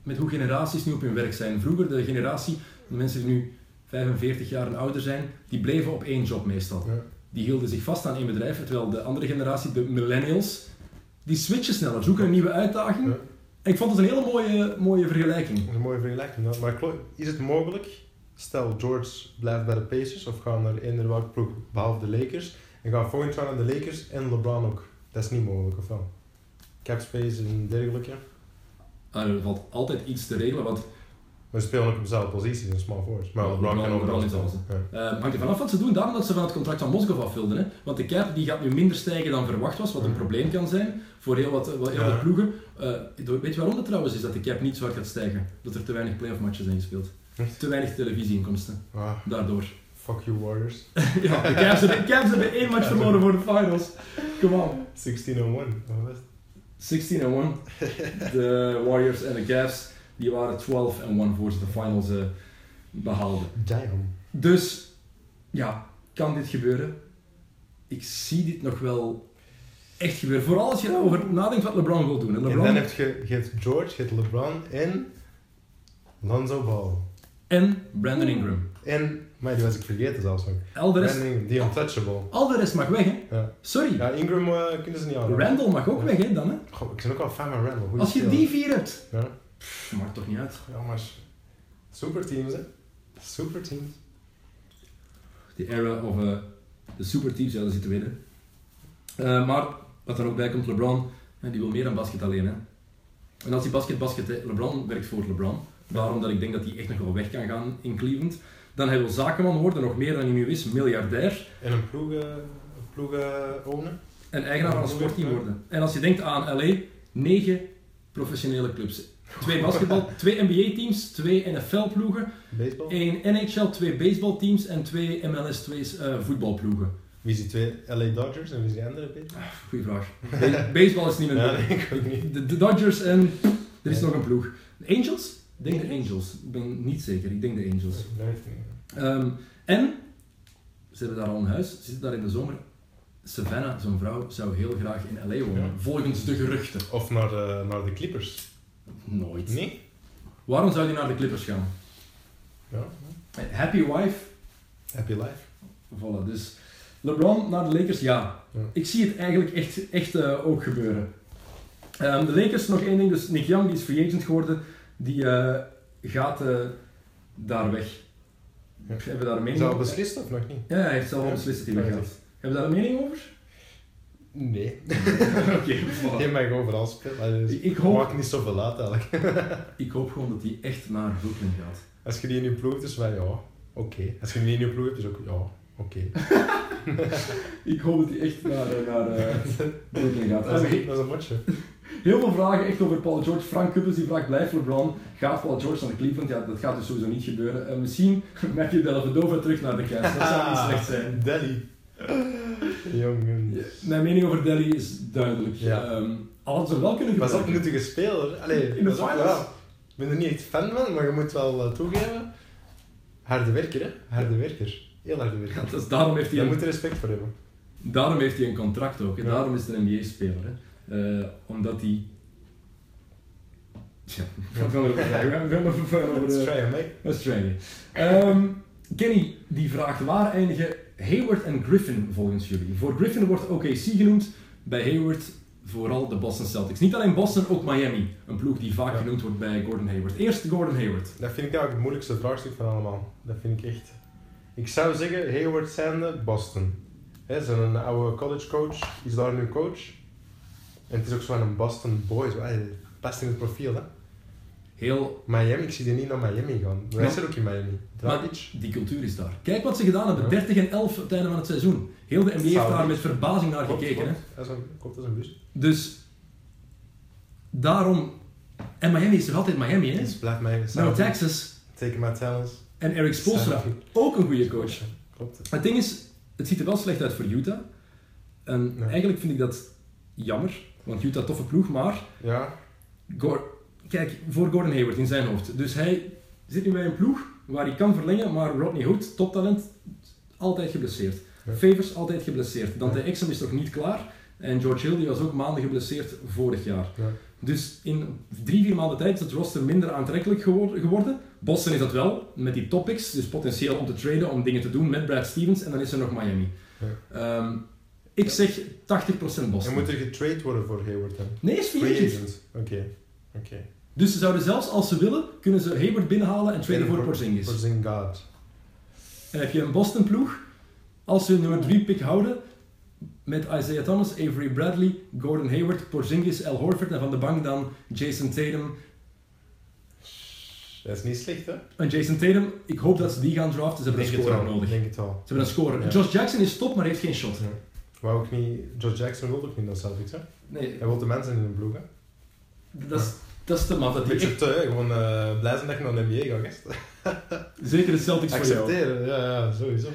[SPEAKER 3] met hoe generaties nu op hun werk zijn. Vroeger, de generatie, de mensen die nu 45 jaar en ouder zijn, die bleven op één job meestal.
[SPEAKER 4] Ja.
[SPEAKER 3] Die hielden zich vast aan één bedrijf, terwijl de andere generatie, de millennials, die switchen sneller, zoeken een nieuwe uitdaging.
[SPEAKER 4] Ja.
[SPEAKER 3] En ik vond het een hele mooie, mooie vergelijking.
[SPEAKER 4] Dat is een mooie vergelijking. ja. Maar Klo- is het mogelijk, stel George blijft bij de Pacers of gaat naar eender welke ploeg behalve de Lakers en gaat volgend jaar naar de Lakers en LeBron ook. Dat is niet mogelijk, of wel? Cap space en dergelijke.
[SPEAKER 3] Ah, er valt altijd iets te regelen, want
[SPEAKER 4] Maar ze spelen ook op dezelfde posities in small forwards. Maar
[SPEAKER 3] Ja,
[SPEAKER 4] LeBron kan
[SPEAKER 3] LeBron
[SPEAKER 4] overal
[SPEAKER 3] is
[SPEAKER 4] spelen.
[SPEAKER 3] alles,
[SPEAKER 4] Ja.
[SPEAKER 3] Eh, hangt er vanaf wat ze doen, daarom dat ze van het contract van Moskov af wilden. Hè? Want de cap die gaat nu minder stijgen dan verwacht was, wat een
[SPEAKER 4] Ja.
[SPEAKER 3] probleem kan zijn voor heel wat, wel heel
[SPEAKER 4] Ja.
[SPEAKER 3] wat ploegen. Eh, door- weet je waarom dat trouwens is dat de cap niet zo hard gaat stijgen? Dat er te weinig playoff matches zijn gespeeld.
[SPEAKER 4] Echt?
[SPEAKER 3] Te weinig televisieinkomsten,
[SPEAKER 4] Ah,
[SPEAKER 3] daardoor.
[SPEAKER 4] fuck you Warriors.
[SPEAKER 3] ja, de Cavs hebben, Cavs hebben één match verloren voor de finals. Come on.
[SPEAKER 4] 16-1. oh wat was het?
[SPEAKER 3] 16 en 1. De Warriors en de Cavs, die waren 12 en 1 voor ze de finals eh, behaalden.
[SPEAKER 4] Damn.
[SPEAKER 3] Dus ja, kan dit gebeuren? Ik zie dit nog wel echt gebeuren. Vooral als je erover nadenkt wat LeBron wil doen. En
[SPEAKER 4] En dan
[SPEAKER 3] LeBron
[SPEAKER 4] heb je, je hebt George, je hebt LeBron en Lonzo Ball.
[SPEAKER 3] en Brandon Ingram.
[SPEAKER 4] En, maar die was ik vergeten zelfs nog.
[SPEAKER 3] Al de rest,
[SPEAKER 4] Brandon Ingram, die untouchable.
[SPEAKER 3] al de rest mag weg, hè?
[SPEAKER 4] Ja.
[SPEAKER 3] Sorry.
[SPEAKER 4] Ja, Ingram eh, kunnen ze niet aan.
[SPEAKER 3] Randall mag ook weg, hè, dan, hè?
[SPEAKER 4] Goh, ik ben ook wel fan van Randall. goeie
[SPEAKER 3] Als je
[SPEAKER 4] speler.
[SPEAKER 3] die vier hebt.
[SPEAKER 4] Ja.
[SPEAKER 3] Pff, maakt toch niet uit.
[SPEAKER 4] ja, maar superteams, hè. Superteams.
[SPEAKER 3] De era of eh, de superteams, ja, daar zitten we in, hè. Eh, maar wat er ook bij komt, LeBron, hè, die wil meer dan basket alleen, hè. En als die basket basket, hè, LeBron werkt voor LeBron. Waarom dat ik denk dat hij echt nog wel weg kan gaan in Cleveland. Dan hij wil zakenman worden, nog meer dan hij nu is, miljardair.
[SPEAKER 4] En een ploeg, eh, een ploeg eh, ownen.
[SPEAKER 3] En eigenaar van een sportteam worden. En als je denkt aan LA, negen professionele clubs. Twee basketbal, twee NBA-teams, twee NFL-ploegen,
[SPEAKER 4] Baseball.
[SPEAKER 3] één NHL, twee baseballteams en twee MLS, twee eh, voetbalploegen.
[SPEAKER 4] Wie is die twee? LA Dodgers en wie is die andere? Peter?
[SPEAKER 3] Goeie vraag. Be- Baseball is niet meer
[SPEAKER 4] Ja,
[SPEAKER 3] nodig.
[SPEAKER 4] nee, ik ook niet.
[SPEAKER 3] De, de Dodgers en er is
[SPEAKER 4] Nee.
[SPEAKER 3] nog een ploeg. De Angels? Ik denk de Angels. Ik ben niet zeker. Ik denk de Angels.
[SPEAKER 4] Nee, ik weet niet.
[SPEAKER 3] Ehm, en ze hebben daar al een huis. Ze zitten daar in de zomer. Savannah, zo'n vrouw, zou heel graag in LA wonen.
[SPEAKER 4] Ja.
[SPEAKER 3] Volgens de geruchten.
[SPEAKER 4] Of naar de, naar de Clippers.
[SPEAKER 3] Nooit.
[SPEAKER 4] Nee?
[SPEAKER 3] Waarom zou die naar de Clippers gaan?
[SPEAKER 4] Ja.
[SPEAKER 3] Happy wife.
[SPEAKER 4] Happy life.
[SPEAKER 3] Voilà. Dus LeBron naar de Lakers, ja.
[SPEAKER 4] Ja.
[SPEAKER 3] Ik zie het eigenlijk echt, echt eh, ook gebeuren. Ehm, de Lakers, nog één ding. Dus Nick Young, die is free agent geworden. Die eh, gaat eh, daar weg.
[SPEAKER 4] Ja.
[SPEAKER 3] Hebben we daar een
[SPEAKER 4] Is
[SPEAKER 3] mening
[SPEAKER 4] dat al
[SPEAKER 3] over?
[SPEAKER 4] beslist of nog niet?
[SPEAKER 3] Ja, hij heeft zelf al beslist dat hij weggaat. Hebben we daar een mening over?
[SPEAKER 4] Nee.
[SPEAKER 3] Oké,
[SPEAKER 4] Je mag overal spelen. maar dat is-
[SPEAKER 3] Ik- ik hoop-
[SPEAKER 4] Maakt niet zoveel uit eigenlijk.
[SPEAKER 3] Ik hoop gewoon dat hij echt naar Brooklyn gaat.
[SPEAKER 4] Als je die in je ploeg hebt, is wel ja, oké. Als je die niet in je ploeg hebt, is ook ja, oké.
[SPEAKER 3] Ik hoop dat hij echt naar, eh, naar eh, Brooklyn gaat.
[SPEAKER 4] Dat, is
[SPEAKER 3] Eh,
[SPEAKER 4] een- dat is een matje.
[SPEAKER 3] Heel veel vragen echt over Paul George. Frank Kuppers die vraagt, blijft LeBron? Gaat Paul George naar Cleveland? Ja, dat gaat dus sowieso niet gebeuren. Eh, misschien Matthew Dellavedova terug naar de Cavs. Dat zou niet slecht zijn.
[SPEAKER 4] Delhi. Jongen.
[SPEAKER 3] Ja, Mijn mening over Delhi is duidelijk.
[SPEAKER 4] Ja.
[SPEAKER 3] Ehm, al hadden ze hem wel kunnen
[SPEAKER 4] Maar dat is ook
[SPEAKER 3] gebruiken.
[SPEAKER 4] een nuttige speler. Allee,
[SPEAKER 3] In de
[SPEAKER 4] dat is-
[SPEAKER 3] finals.
[SPEAKER 4] ja. Ik ben er niet echt fan van, maar je moet wel eh, toegeven. Harde werker, hè? Harde werker. Heel harde werker.
[SPEAKER 3] Dat is, daarom, heeft hij
[SPEAKER 4] Daar
[SPEAKER 3] een,
[SPEAKER 4] moet je respect voor hebben.
[SPEAKER 3] daarom heeft hij een contract ook. hè.
[SPEAKER 4] Ja.
[SPEAKER 3] Daarom is het een NBA-speler. Eh, omdat hij... Tja, we gaan erover praten. We gaan erover praten.
[SPEAKER 4] Let's try him, hè?
[SPEAKER 3] Dat is training. Ehm, Kenny die vraagt waar eindigen Hayward en Griffin volgens jullie? Voor Griffin wordt OKC genoemd, bij Hayward vooral de Boston Celtics. Niet alleen Boston, ook Miami. Een ploeg die vaak
[SPEAKER 4] Ja.
[SPEAKER 3] genoemd wordt bij Gordon Hayward. Eerst Gordon Hayward.
[SPEAKER 4] Dat vind ik eigenlijk het moeilijkste vraagstuk van allemaal. Dat vind ik echt. Ik zou zeggen, Hayward zijnde, Boston. Hè, Ze zijn een oude college coach, is daar nu coach. En het is ook zo aan een Boston Boys. Wel, hij Past in het profiel, hè?
[SPEAKER 3] Heel,
[SPEAKER 4] Miami, ik zie die niet naar Miami gaan. Wij
[SPEAKER 3] Ja.
[SPEAKER 4] zijn ook in Miami. Dragic.
[SPEAKER 3] die cultuur is daar. Kijk wat ze gedaan hebben,
[SPEAKER 4] Ja.
[SPEAKER 3] 30 en 11 op het einde van het seizoen. Heel de NBA heeft
[SPEAKER 4] Zou-
[SPEAKER 3] daar met verbazing naar
[SPEAKER 4] Klopt,
[SPEAKER 3] gekeken. Hè?
[SPEAKER 4] klopt. Dat is een- Klopt, dat is een bus.
[SPEAKER 3] Dus daarom... En Miami is toch altijd Miami, hè?
[SPEAKER 4] Dus blijf mij
[SPEAKER 3] No Texas.
[SPEAKER 4] Take my talents.
[SPEAKER 3] En Eric Spoelstra,
[SPEAKER 4] Zou-
[SPEAKER 3] ook een goede coach.
[SPEAKER 4] Klopt. het.
[SPEAKER 3] Maar Het ding is, het ziet er wel slecht uit voor Utah. En
[SPEAKER 4] Ja.
[SPEAKER 3] eigenlijk vind ik dat jammer, want Utah toffe ploeg, maar
[SPEAKER 4] Ja,
[SPEAKER 3] Gor- kijk, voor Gordon Hayward in zijn hoofd. Dus hij zit nu bij een ploeg waar hij kan verlengen, maar Rodney Hood, toptalent, altijd geblesseerd.
[SPEAKER 4] Ja.
[SPEAKER 3] Favors altijd geblesseerd. Dante
[SPEAKER 4] Ja.
[SPEAKER 3] Exum is nog niet klaar. En George Hill die was ook maanden geblesseerd vorig jaar.
[SPEAKER 4] Ja.
[SPEAKER 3] Dus in drie, vier maanden tijd is het roster minder aantrekkelijk gewor- geworden. Boston is dat wel, met die topics, dus potentieel om te traden, om dingen te doen met Brad Stevens. En dan is er nog Miami. Ehm, ik zeg 80%
[SPEAKER 4] en
[SPEAKER 3] Boston.
[SPEAKER 4] moet er getrade worden voor Hayward dan?
[SPEAKER 3] Nee, is free
[SPEAKER 4] Free
[SPEAKER 3] agent.
[SPEAKER 4] agent. Oké, oké.
[SPEAKER 3] Dus ze zouden zelfs, als ze willen, kunnen ze Hayward binnenhalen en traden voor Porzingis.
[SPEAKER 4] Porzingis.
[SPEAKER 3] En heb je een Boston-ploeg, als ze hun nummer 3 pick houden, met Isaiah Thomas, Avery Bradley, Gordon Hayward, Porzingis, Al Horford en van de bank dan Jason Tatum.
[SPEAKER 4] Dat is niet slecht, hè?
[SPEAKER 3] En Jason Tatum, ik hoop dat ze die gaan draften, ze hebben een
[SPEAKER 4] het
[SPEAKER 3] scorer
[SPEAKER 4] wel,
[SPEAKER 3] nodig. Ze
[SPEAKER 4] Denk het wel.
[SPEAKER 3] hebben een scorer.
[SPEAKER 4] Ja.
[SPEAKER 3] Josh Jackson is top, maar heeft geen shot.
[SPEAKER 4] Ja. Wou ook niet... George Jackson wil ook niet naar Celtics, hè?
[SPEAKER 3] Nee,
[SPEAKER 4] Hij wil de mensen in de ploeg, hè?
[SPEAKER 3] dat is, dat is te maf. Dat die
[SPEAKER 4] Beetje
[SPEAKER 3] echt,
[SPEAKER 4] te, hè? Gewoon eh, blij zijn dat je naar de NBA gaat, gast.
[SPEAKER 3] zeker de Celtics voor jou.
[SPEAKER 4] Accepteren, ja, ja, sowieso.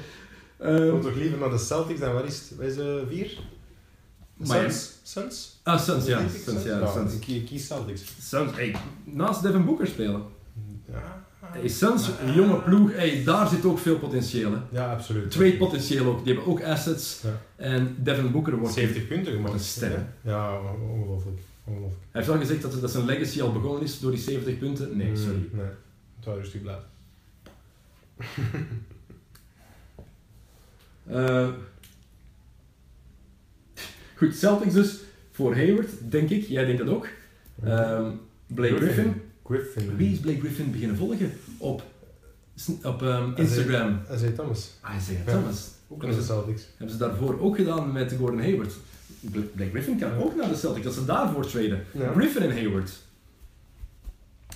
[SPEAKER 3] Ehm,
[SPEAKER 4] Kom toch liever naar de Celtics dan, wat is het? Wat is eh, vier?
[SPEAKER 3] Miami.
[SPEAKER 4] Suns? Suns?
[SPEAKER 3] ah, Suns, ja.
[SPEAKER 4] Celtics,
[SPEAKER 3] Suns, ja. Suns.
[SPEAKER 4] ik- Ik kies Celtics.
[SPEAKER 3] Suns, hey, naast Devin Booker spelen.
[SPEAKER 4] Ja.
[SPEAKER 3] Hey, Suns, een jonge ploeg, hey, daar zit ook veel potentieel. Hè.
[SPEAKER 4] Ja, absoluut.
[SPEAKER 3] Trade potentieel ook, die hebben ook assets.
[SPEAKER 4] Ja.
[SPEAKER 3] En Devin Booker wordt...
[SPEAKER 4] 70 punten gemaakt.
[SPEAKER 3] Wat een sterren.
[SPEAKER 4] Ja, ongelooflijk. ongelooflijk.
[SPEAKER 3] Hij heeft al gezegd dat, dat zijn legacy al begonnen is door die 70 punten. Nee, sorry.
[SPEAKER 4] Mm, Nee, het was rustig blij.
[SPEAKER 3] Eh, goed, Celtics dus voor Hayward, denk ik. Jij denkt dat ook. Ehm, Blake Griffin.
[SPEAKER 4] Griffin.
[SPEAKER 3] Wie is Blake Griffin beginnen volgen? Op, sn- op ehm,
[SPEAKER 4] Isaiah-
[SPEAKER 3] Instagram. Ah,
[SPEAKER 4] Isaiah Thomas.
[SPEAKER 3] Isaiah
[SPEAKER 4] Ja.
[SPEAKER 3] Thomas.
[SPEAKER 4] Ook naar de Celtics.
[SPEAKER 3] Hebben ze daarvoor ook gedaan met Gordon Hayward. Bla- Blake Griffin kan ook naar de Celtics, dat ze daarvoor traden.
[SPEAKER 4] Ja.
[SPEAKER 3] Griffin en Hayward.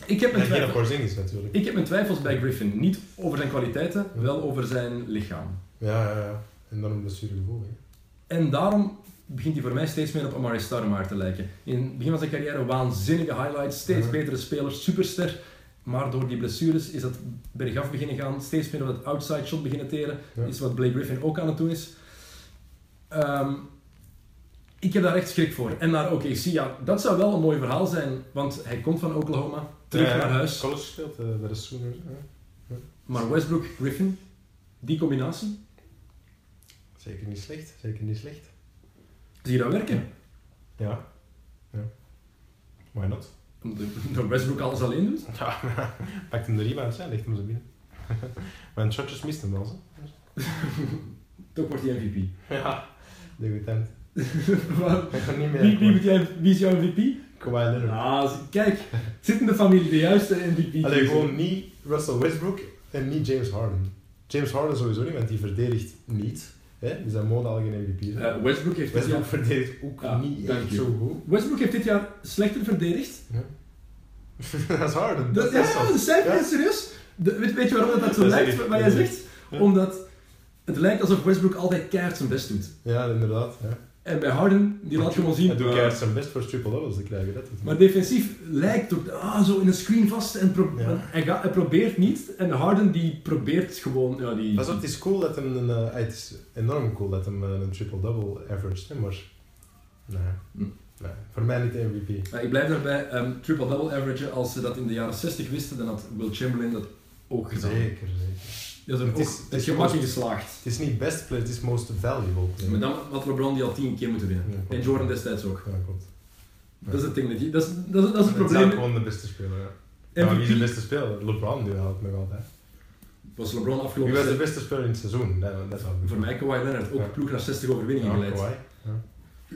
[SPEAKER 3] Ik heb mijn
[SPEAKER 4] En geen
[SPEAKER 3] twijfels.
[SPEAKER 4] Porzingis natuurlijk.
[SPEAKER 3] Ik heb mijn twijfels bij Griffin. Niet over zijn kwaliteiten, wel over zijn lichaam.
[SPEAKER 4] Ja, ja, ja. En dan een blessuregevoel. hè.
[SPEAKER 3] En daarom begint hij voor mij steeds meer op Amari Stoudemire te lijken. In het begin van zijn carrière waanzinnige highlights, steeds
[SPEAKER 4] Ja.
[SPEAKER 3] betere speler, superster. Maar door die blessures is dat bergaf beginnen gaan, steeds meer op dat outside shot beginnen teren.
[SPEAKER 4] Ja.
[SPEAKER 3] Is wat Blake Griffin ook aan het doen is. Ehm, ik heb daar echt schrik voor. En naar OKC, ja, dat zou wel een mooi verhaal zijn. Want hij komt van Oklahoma, terug
[SPEAKER 4] Ja, ja.
[SPEAKER 3] naar huis.
[SPEAKER 4] College gespeeld eh, bij de Sooners. hè.
[SPEAKER 3] Maar Westbrook, Griffin, die combinatie,
[SPEAKER 4] Zeker niet slecht. Zeker niet slecht.
[SPEAKER 3] zie je dat werken?
[SPEAKER 4] Ja. ja. Why not?
[SPEAKER 3] Omdat omdat Westbrook alles alleen doet.
[SPEAKER 4] Ja, pakt hem de rebound, hè, legt hem ze binnen. Mijn shotjes mist hem wel, hè.
[SPEAKER 3] Toch wordt hij MVP.
[SPEAKER 4] Ja. Debutant.
[SPEAKER 3] Waar-
[SPEAKER 4] Ik ga niet
[SPEAKER 3] wie, wie, moet
[SPEAKER 4] meer.
[SPEAKER 3] jij- wie is jouw MVP?
[SPEAKER 4] Kawhi Leonard.
[SPEAKER 3] Ah, z- kijk, het zit in de familie de juiste MVP.
[SPEAKER 4] Allee, gewoon niet Russell Westbrook en niet James Harden. James Harden sowieso niet, want die verdedigt niet. Hè? Die zijn mode al geen MVP. zijn.
[SPEAKER 3] Eh, Westbrook, heeft dit
[SPEAKER 4] Westbrook
[SPEAKER 3] jaar,
[SPEAKER 4] verdedigt ook
[SPEAKER 3] Ja,
[SPEAKER 4] niet
[SPEAKER 3] dank
[SPEAKER 4] echt
[SPEAKER 3] je.
[SPEAKER 4] zo goed.
[SPEAKER 3] Westbrook heeft dit jaar slechter verdedigd.
[SPEAKER 4] dat is Harden.
[SPEAKER 3] Dat,
[SPEAKER 4] Dat,
[SPEAKER 3] ja,
[SPEAKER 4] is zo.
[SPEAKER 3] dat zijn
[SPEAKER 4] Ja.
[SPEAKER 3] serieus. De- weet, weet je waarom dat, dat zo
[SPEAKER 4] Dat zeg
[SPEAKER 3] lijkt,
[SPEAKER 4] ik.
[SPEAKER 3] wat jij zegt?
[SPEAKER 4] Ja.
[SPEAKER 3] Omdat het lijkt alsof Westbrook altijd keihard zijn best doet.
[SPEAKER 4] Ja, inderdaad. Ja.
[SPEAKER 3] En bij Harden, die laat gewoon zien...
[SPEAKER 4] Hij doet
[SPEAKER 3] eh,
[SPEAKER 4] keihard zijn best voor triple doubles te krijgen. Dat is
[SPEAKER 3] Maar defensief lijkt ook ah, zo in een screen vast en pro-
[SPEAKER 4] Ja.
[SPEAKER 3] hij, gaat- hij probeert niet. En Harden die probeert gewoon. Ja, die,
[SPEAKER 4] Pas op, het is cool dat hem een... eh, het is enorm cool dat hem eh, een triple-double averaged, hè, maar... Nee.
[SPEAKER 3] Hm.
[SPEAKER 4] nee. Voor mij niet de MVP.
[SPEAKER 3] Maar ik blijf daarbij ehm, triple-double average. Als ze dat in de jaren 60 wisten, dan had Will Chamberlain dat ook gedaan.
[SPEAKER 4] Zeker, zeker.
[SPEAKER 3] Dat is er
[SPEAKER 4] Het
[SPEAKER 3] ook
[SPEAKER 4] is- het
[SPEAKER 3] het
[SPEAKER 4] is
[SPEAKER 3] gemak in
[SPEAKER 4] gewoon-
[SPEAKER 3] geslaagd.
[SPEAKER 4] Het is niet best player, het is most valuable player.
[SPEAKER 3] Maar dan had LeBron die al tien keer moeten winnen.
[SPEAKER 4] Ja, klopt.
[SPEAKER 3] En Jordan destijds ook.
[SPEAKER 4] Ja, klopt.
[SPEAKER 3] Dat is het ding. Dat, je- dat, is, dat, is, dat is het
[SPEAKER 4] Het is ook
[SPEAKER 3] probleem.
[SPEAKER 4] gewoon de beste speler, ja. Ja, maar wie is de
[SPEAKER 3] MVP
[SPEAKER 4] beste speler? LeBron nu houdt nog altijd.
[SPEAKER 3] was LeBron
[SPEAKER 4] Wie
[SPEAKER 3] afgelopen
[SPEAKER 4] was de
[SPEAKER 3] seizoen.
[SPEAKER 4] beste speler in het seizoen? Dat, dat zou ik
[SPEAKER 3] Voor mij Kawhi Leonard, ook
[SPEAKER 4] Ja.
[SPEAKER 3] ploeg naar 60 overwinningen
[SPEAKER 4] Ja,
[SPEAKER 3] geleid.
[SPEAKER 4] Kawhi.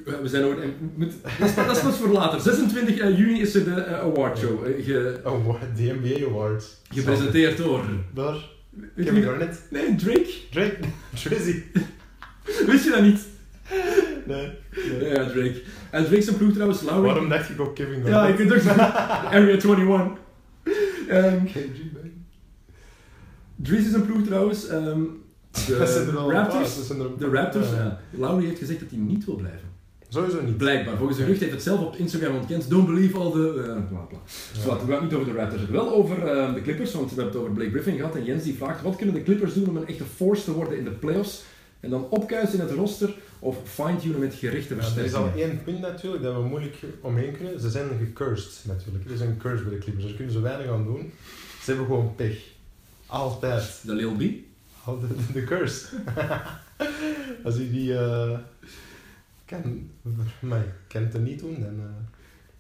[SPEAKER 3] Ja, We zijn over. en moet- Dat is pas- dat is pas voor later. 26 juni is er de eh, award show. eh, ge-
[SPEAKER 4] Oh, what? de NBA Awards.
[SPEAKER 3] gepresenteerd door.
[SPEAKER 4] Door
[SPEAKER 3] Weet je
[SPEAKER 4] Kevin
[SPEAKER 3] wie-
[SPEAKER 4] Garnett.
[SPEAKER 3] Nee, Drake.
[SPEAKER 4] Drake. Drizzy.
[SPEAKER 3] Wist je dat niet?
[SPEAKER 4] Nee.
[SPEAKER 3] Ja, ja, Drake. En Drake zijn ploeg trouwens, Lowry.
[SPEAKER 4] Waarom dacht ik ook
[SPEAKER 3] Ja,
[SPEAKER 4] Kevin
[SPEAKER 3] Oh, ik
[SPEAKER 4] Garnett?
[SPEAKER 3] weet het ook. Area 21. Ehm
[SPEAKER 4] KG, man.
[SPEAKER 3] Dries is een ploeg trouwens. ehm,
[SPEAKER 4] Dat zijn
[SPEAKER 3] de
[SPEAKER 4] er wel een paar,
[SPEAKER 3] Raptors.
[SPEAKER 4] dat zijn er een
[SPEAKER 3] De
[SPEAKER 4] paar.
[SPEAKER 3] Raptors.
[SPEAKER 4] Ja.
[SPEAKER 3] ja. Lowry heeft gezegd dat hij niet wil blijven.
[SPEAKER 4] Sowieso niet.
[SPEAKER 3] Blijkbaar. Volgens de gerucht heeft het zelf op Instagram ontkend. Don't believe all the... eh bla bla. Dus laten we het niet over de Raptors hebben. Wel over eh, de Clippers, want we hebben het over Blake Griffin gehad. En Jens die vraagt, wat kunnen de Clippers doen om een echte force te worden in de playoffs? En dan opkuisen in het roster of fine-tunen met gerichte
[SPEAKER 4] Ja, er is
[SPEAKER 3] versterkingen?
[SPEAKER 4] al één punt natuurlijk dat we moeilijk omheen kunnen. Ze zijn gecursed natuurlijk. Er is een curse bij de Clippers. Daar kunnen ze weinig aan doen. Ze hebben gewoon pech. Altijd.
[SPEAKER 3] De Lil B.
[SPEAKER 4] Al De, de, de curse. Als je die eh, kan, maar kan het niet doen, dan eh,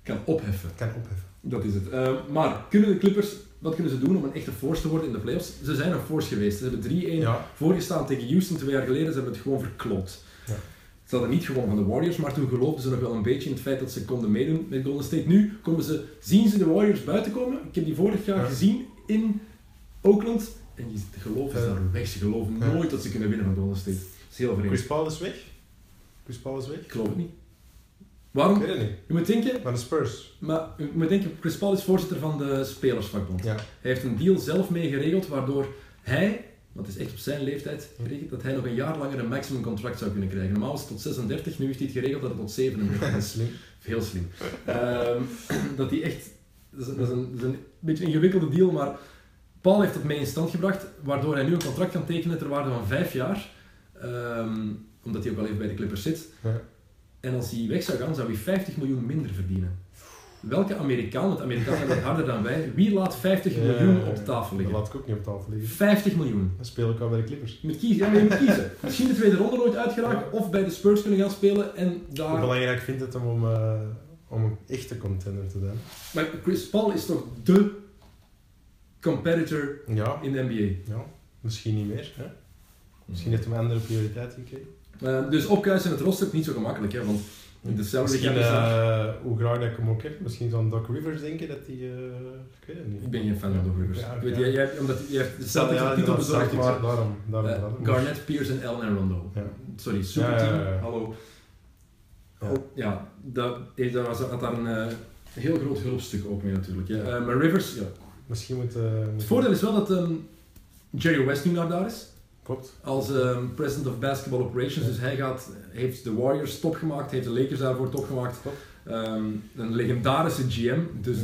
[SPEAKER 3] Kan opheffen.
[SPEAKER 4] kan opheffen.
[SPEAKER 3] Dat is het. Eh, maar kunnen de Clippers, wat kunnen ze doen om een echte force te worden in de playoffs? Ze zijn een force geweest. Ze hebben 3-1
[SPEAKER 4] Ja.
[SPEAKER 3] voorgestaan tegen Houston twee jaar geleden. Ze hebben het gewoon verklopt.
[SPEAKER 4] Ja.
[SPEAKER 3] Ze hadden niet gewoon van de Warriors, maar toen geloofden ze nog wel een beetje in het feit dat ze konden meedoen met Golden State. Nu komen ze, zien ze de Warriors buiten komen. Ik heb die vorig jaar
[SPEAKER 4] Ja.
[SPEAKER 3] gezien in Oakland. En die geloven ze
[SPEAKER 4] Ja.
[SPEAKER 3] daar weg. Ze geloven
[SPEAKER 4] Ja.
[SPEAKER 3] nooit dat ze kunnen winnen van Golden State. Dat is heel vreemd.
[SPEAKER 4] Chris Paul is weg. Chris Paul is weg.
[SPEAKER 3] Ik geloof het niet.
[SPEAKER 4] Ik
[SPEAKER 3] Waarom?
[SPEAKER 4] weet het niet.
[SPEAKER 3] Je moet denken,
[SPEAKER 4] Maar de Spurs.
[SPEAKER 3] maar je moet denken, Chris Paul is voorzitter van de spelersvakbond.
[SPEAKER 4] Ja.
[SPEAKER 3] Hij heeft een deal zelf mee geregeld waardoor hij, dat is echt op zijn leeftijd geregeld, dat hij nog een jaar langer een maximum contract zou kunnen krijgen. Normaal is het tot 36, nu heeft hij het geregeld dat het tot 37 is.
[SPEAKER 4] Slim.
[SPEAKER 3] Heel slim. Ehm, dat hij echt, dat is, een, dat, is een, dat is een beetje een ingewikkelde deal, maar Paul heeft dat mee in stand gebracht, waardoor hij nu een contract kan tekenen ter waarde van 5 jaar, Ehm, omdat hij ook al even bij de Clippers zit.
[SPEAKER 4] Ja.
[SPEAKER 3] En als hij weg zou gaan, zou hij 50 miljoen minder verdienen. Welke Amerikaan, want Amerikanen zijn wat harder dan wij, wie laat 50
[SPEAKER 4] Ja,
[SPEAKER 3] miljoen
[SPEAKER 4] ja, ja.
[SPEAKER 3] op tafel
[SPEAKER 4] Dat
[SPEAKER 3] liggen?
[SPEAKER 4] laat ik ook niet op tafel liggen.
[SPEAKER 3] 50 miljoen.
[SPEAKER 4] Dan speel ik al bij de Clippers.
[SPEAKER 3] Je moet kiezen, ja, maar je moet kiezen. Misschien de tweede ronde nooit uitgeraken, of bij de Spurs kunnen gaan spelen en
[SPEAKER 4] Hoe
[SPEAKER 3] daar...
[SPEAKER 4] belangrijk vindt het hem om, eh, om een echte contender te zijn?
[SPEAKER 3] Maar Chris Paul is toch de competitor
[SPEAKER 4] Ja,
[SPEAKER 3] in de NBA.
[SPEAKER 4] ja. misschien niet meer. Hè? Misschien heeft hij een andere prioriteit gekregen.
[SPEAKER 3] Eh, dus opkuisen in het roster is niet zo gemakkelijk, hè, want de salary
[SPEAKER 4] Misschien,
[SPEAKER 3] cap is daar-
[SPEAKER 4] eh, hoe graag dat ik hem ook heb, misschien zo'n Doc Rivers denken dat hij... eh, ik weet het niet.
[SPEAKER 3] Ik ben geen fan van de Rivers.
[SPEAKER 4] Ja, oké.
[SPEAKER 3] Weet je, jij, omdat jij hebt de Celtics
[SPEAKER 4] Ja,
[SPEAKER 3] een titel
[SPEAKER 4] inderdaad,
[SPEAKER 3] bezorgd,
[SPEAKER 4] Celtics,
[SPEAKER 3] maar
[SPEAKER 4] Daarom, daarom,
[SPEAKER 3] eh,
[SPEAKER 4] daarom.
[SPEAKER 3] Garnett, Pierce en Allen en Rondo.
[SPEAKER 4] Ja.
[SPEAKER 3] Sorry, superteam,
[SPEAKER 4] Ja, ja, ja.
[SPEAKER 3] hallo.
[SPEAKER 4] Ja.
[SPEAKER 3] Oh, Ja, dat, heeft- dat was, had daar een eh, heel groot hulpstuk ook mee natuurlijk. Ja. Eh, maar Rivers, ja.
[SPEAKER 4] Misschien moet... eh, moet-
[SPEAKER 3] het voordeel is wel dat ehm, Jerry West nu naar daar is.
[SPEAKER 4] Klopt.
[SPEAKER 3] Als ehm, president of basketball operations. Dus hij gaat, heeft de Warriors topgemaakt, heeft de Lakers daarvoor topgemaakt.
[SPEAKER 4] Klopt.
[SPEAKER 3] Ehm, een legendarische GM. Dus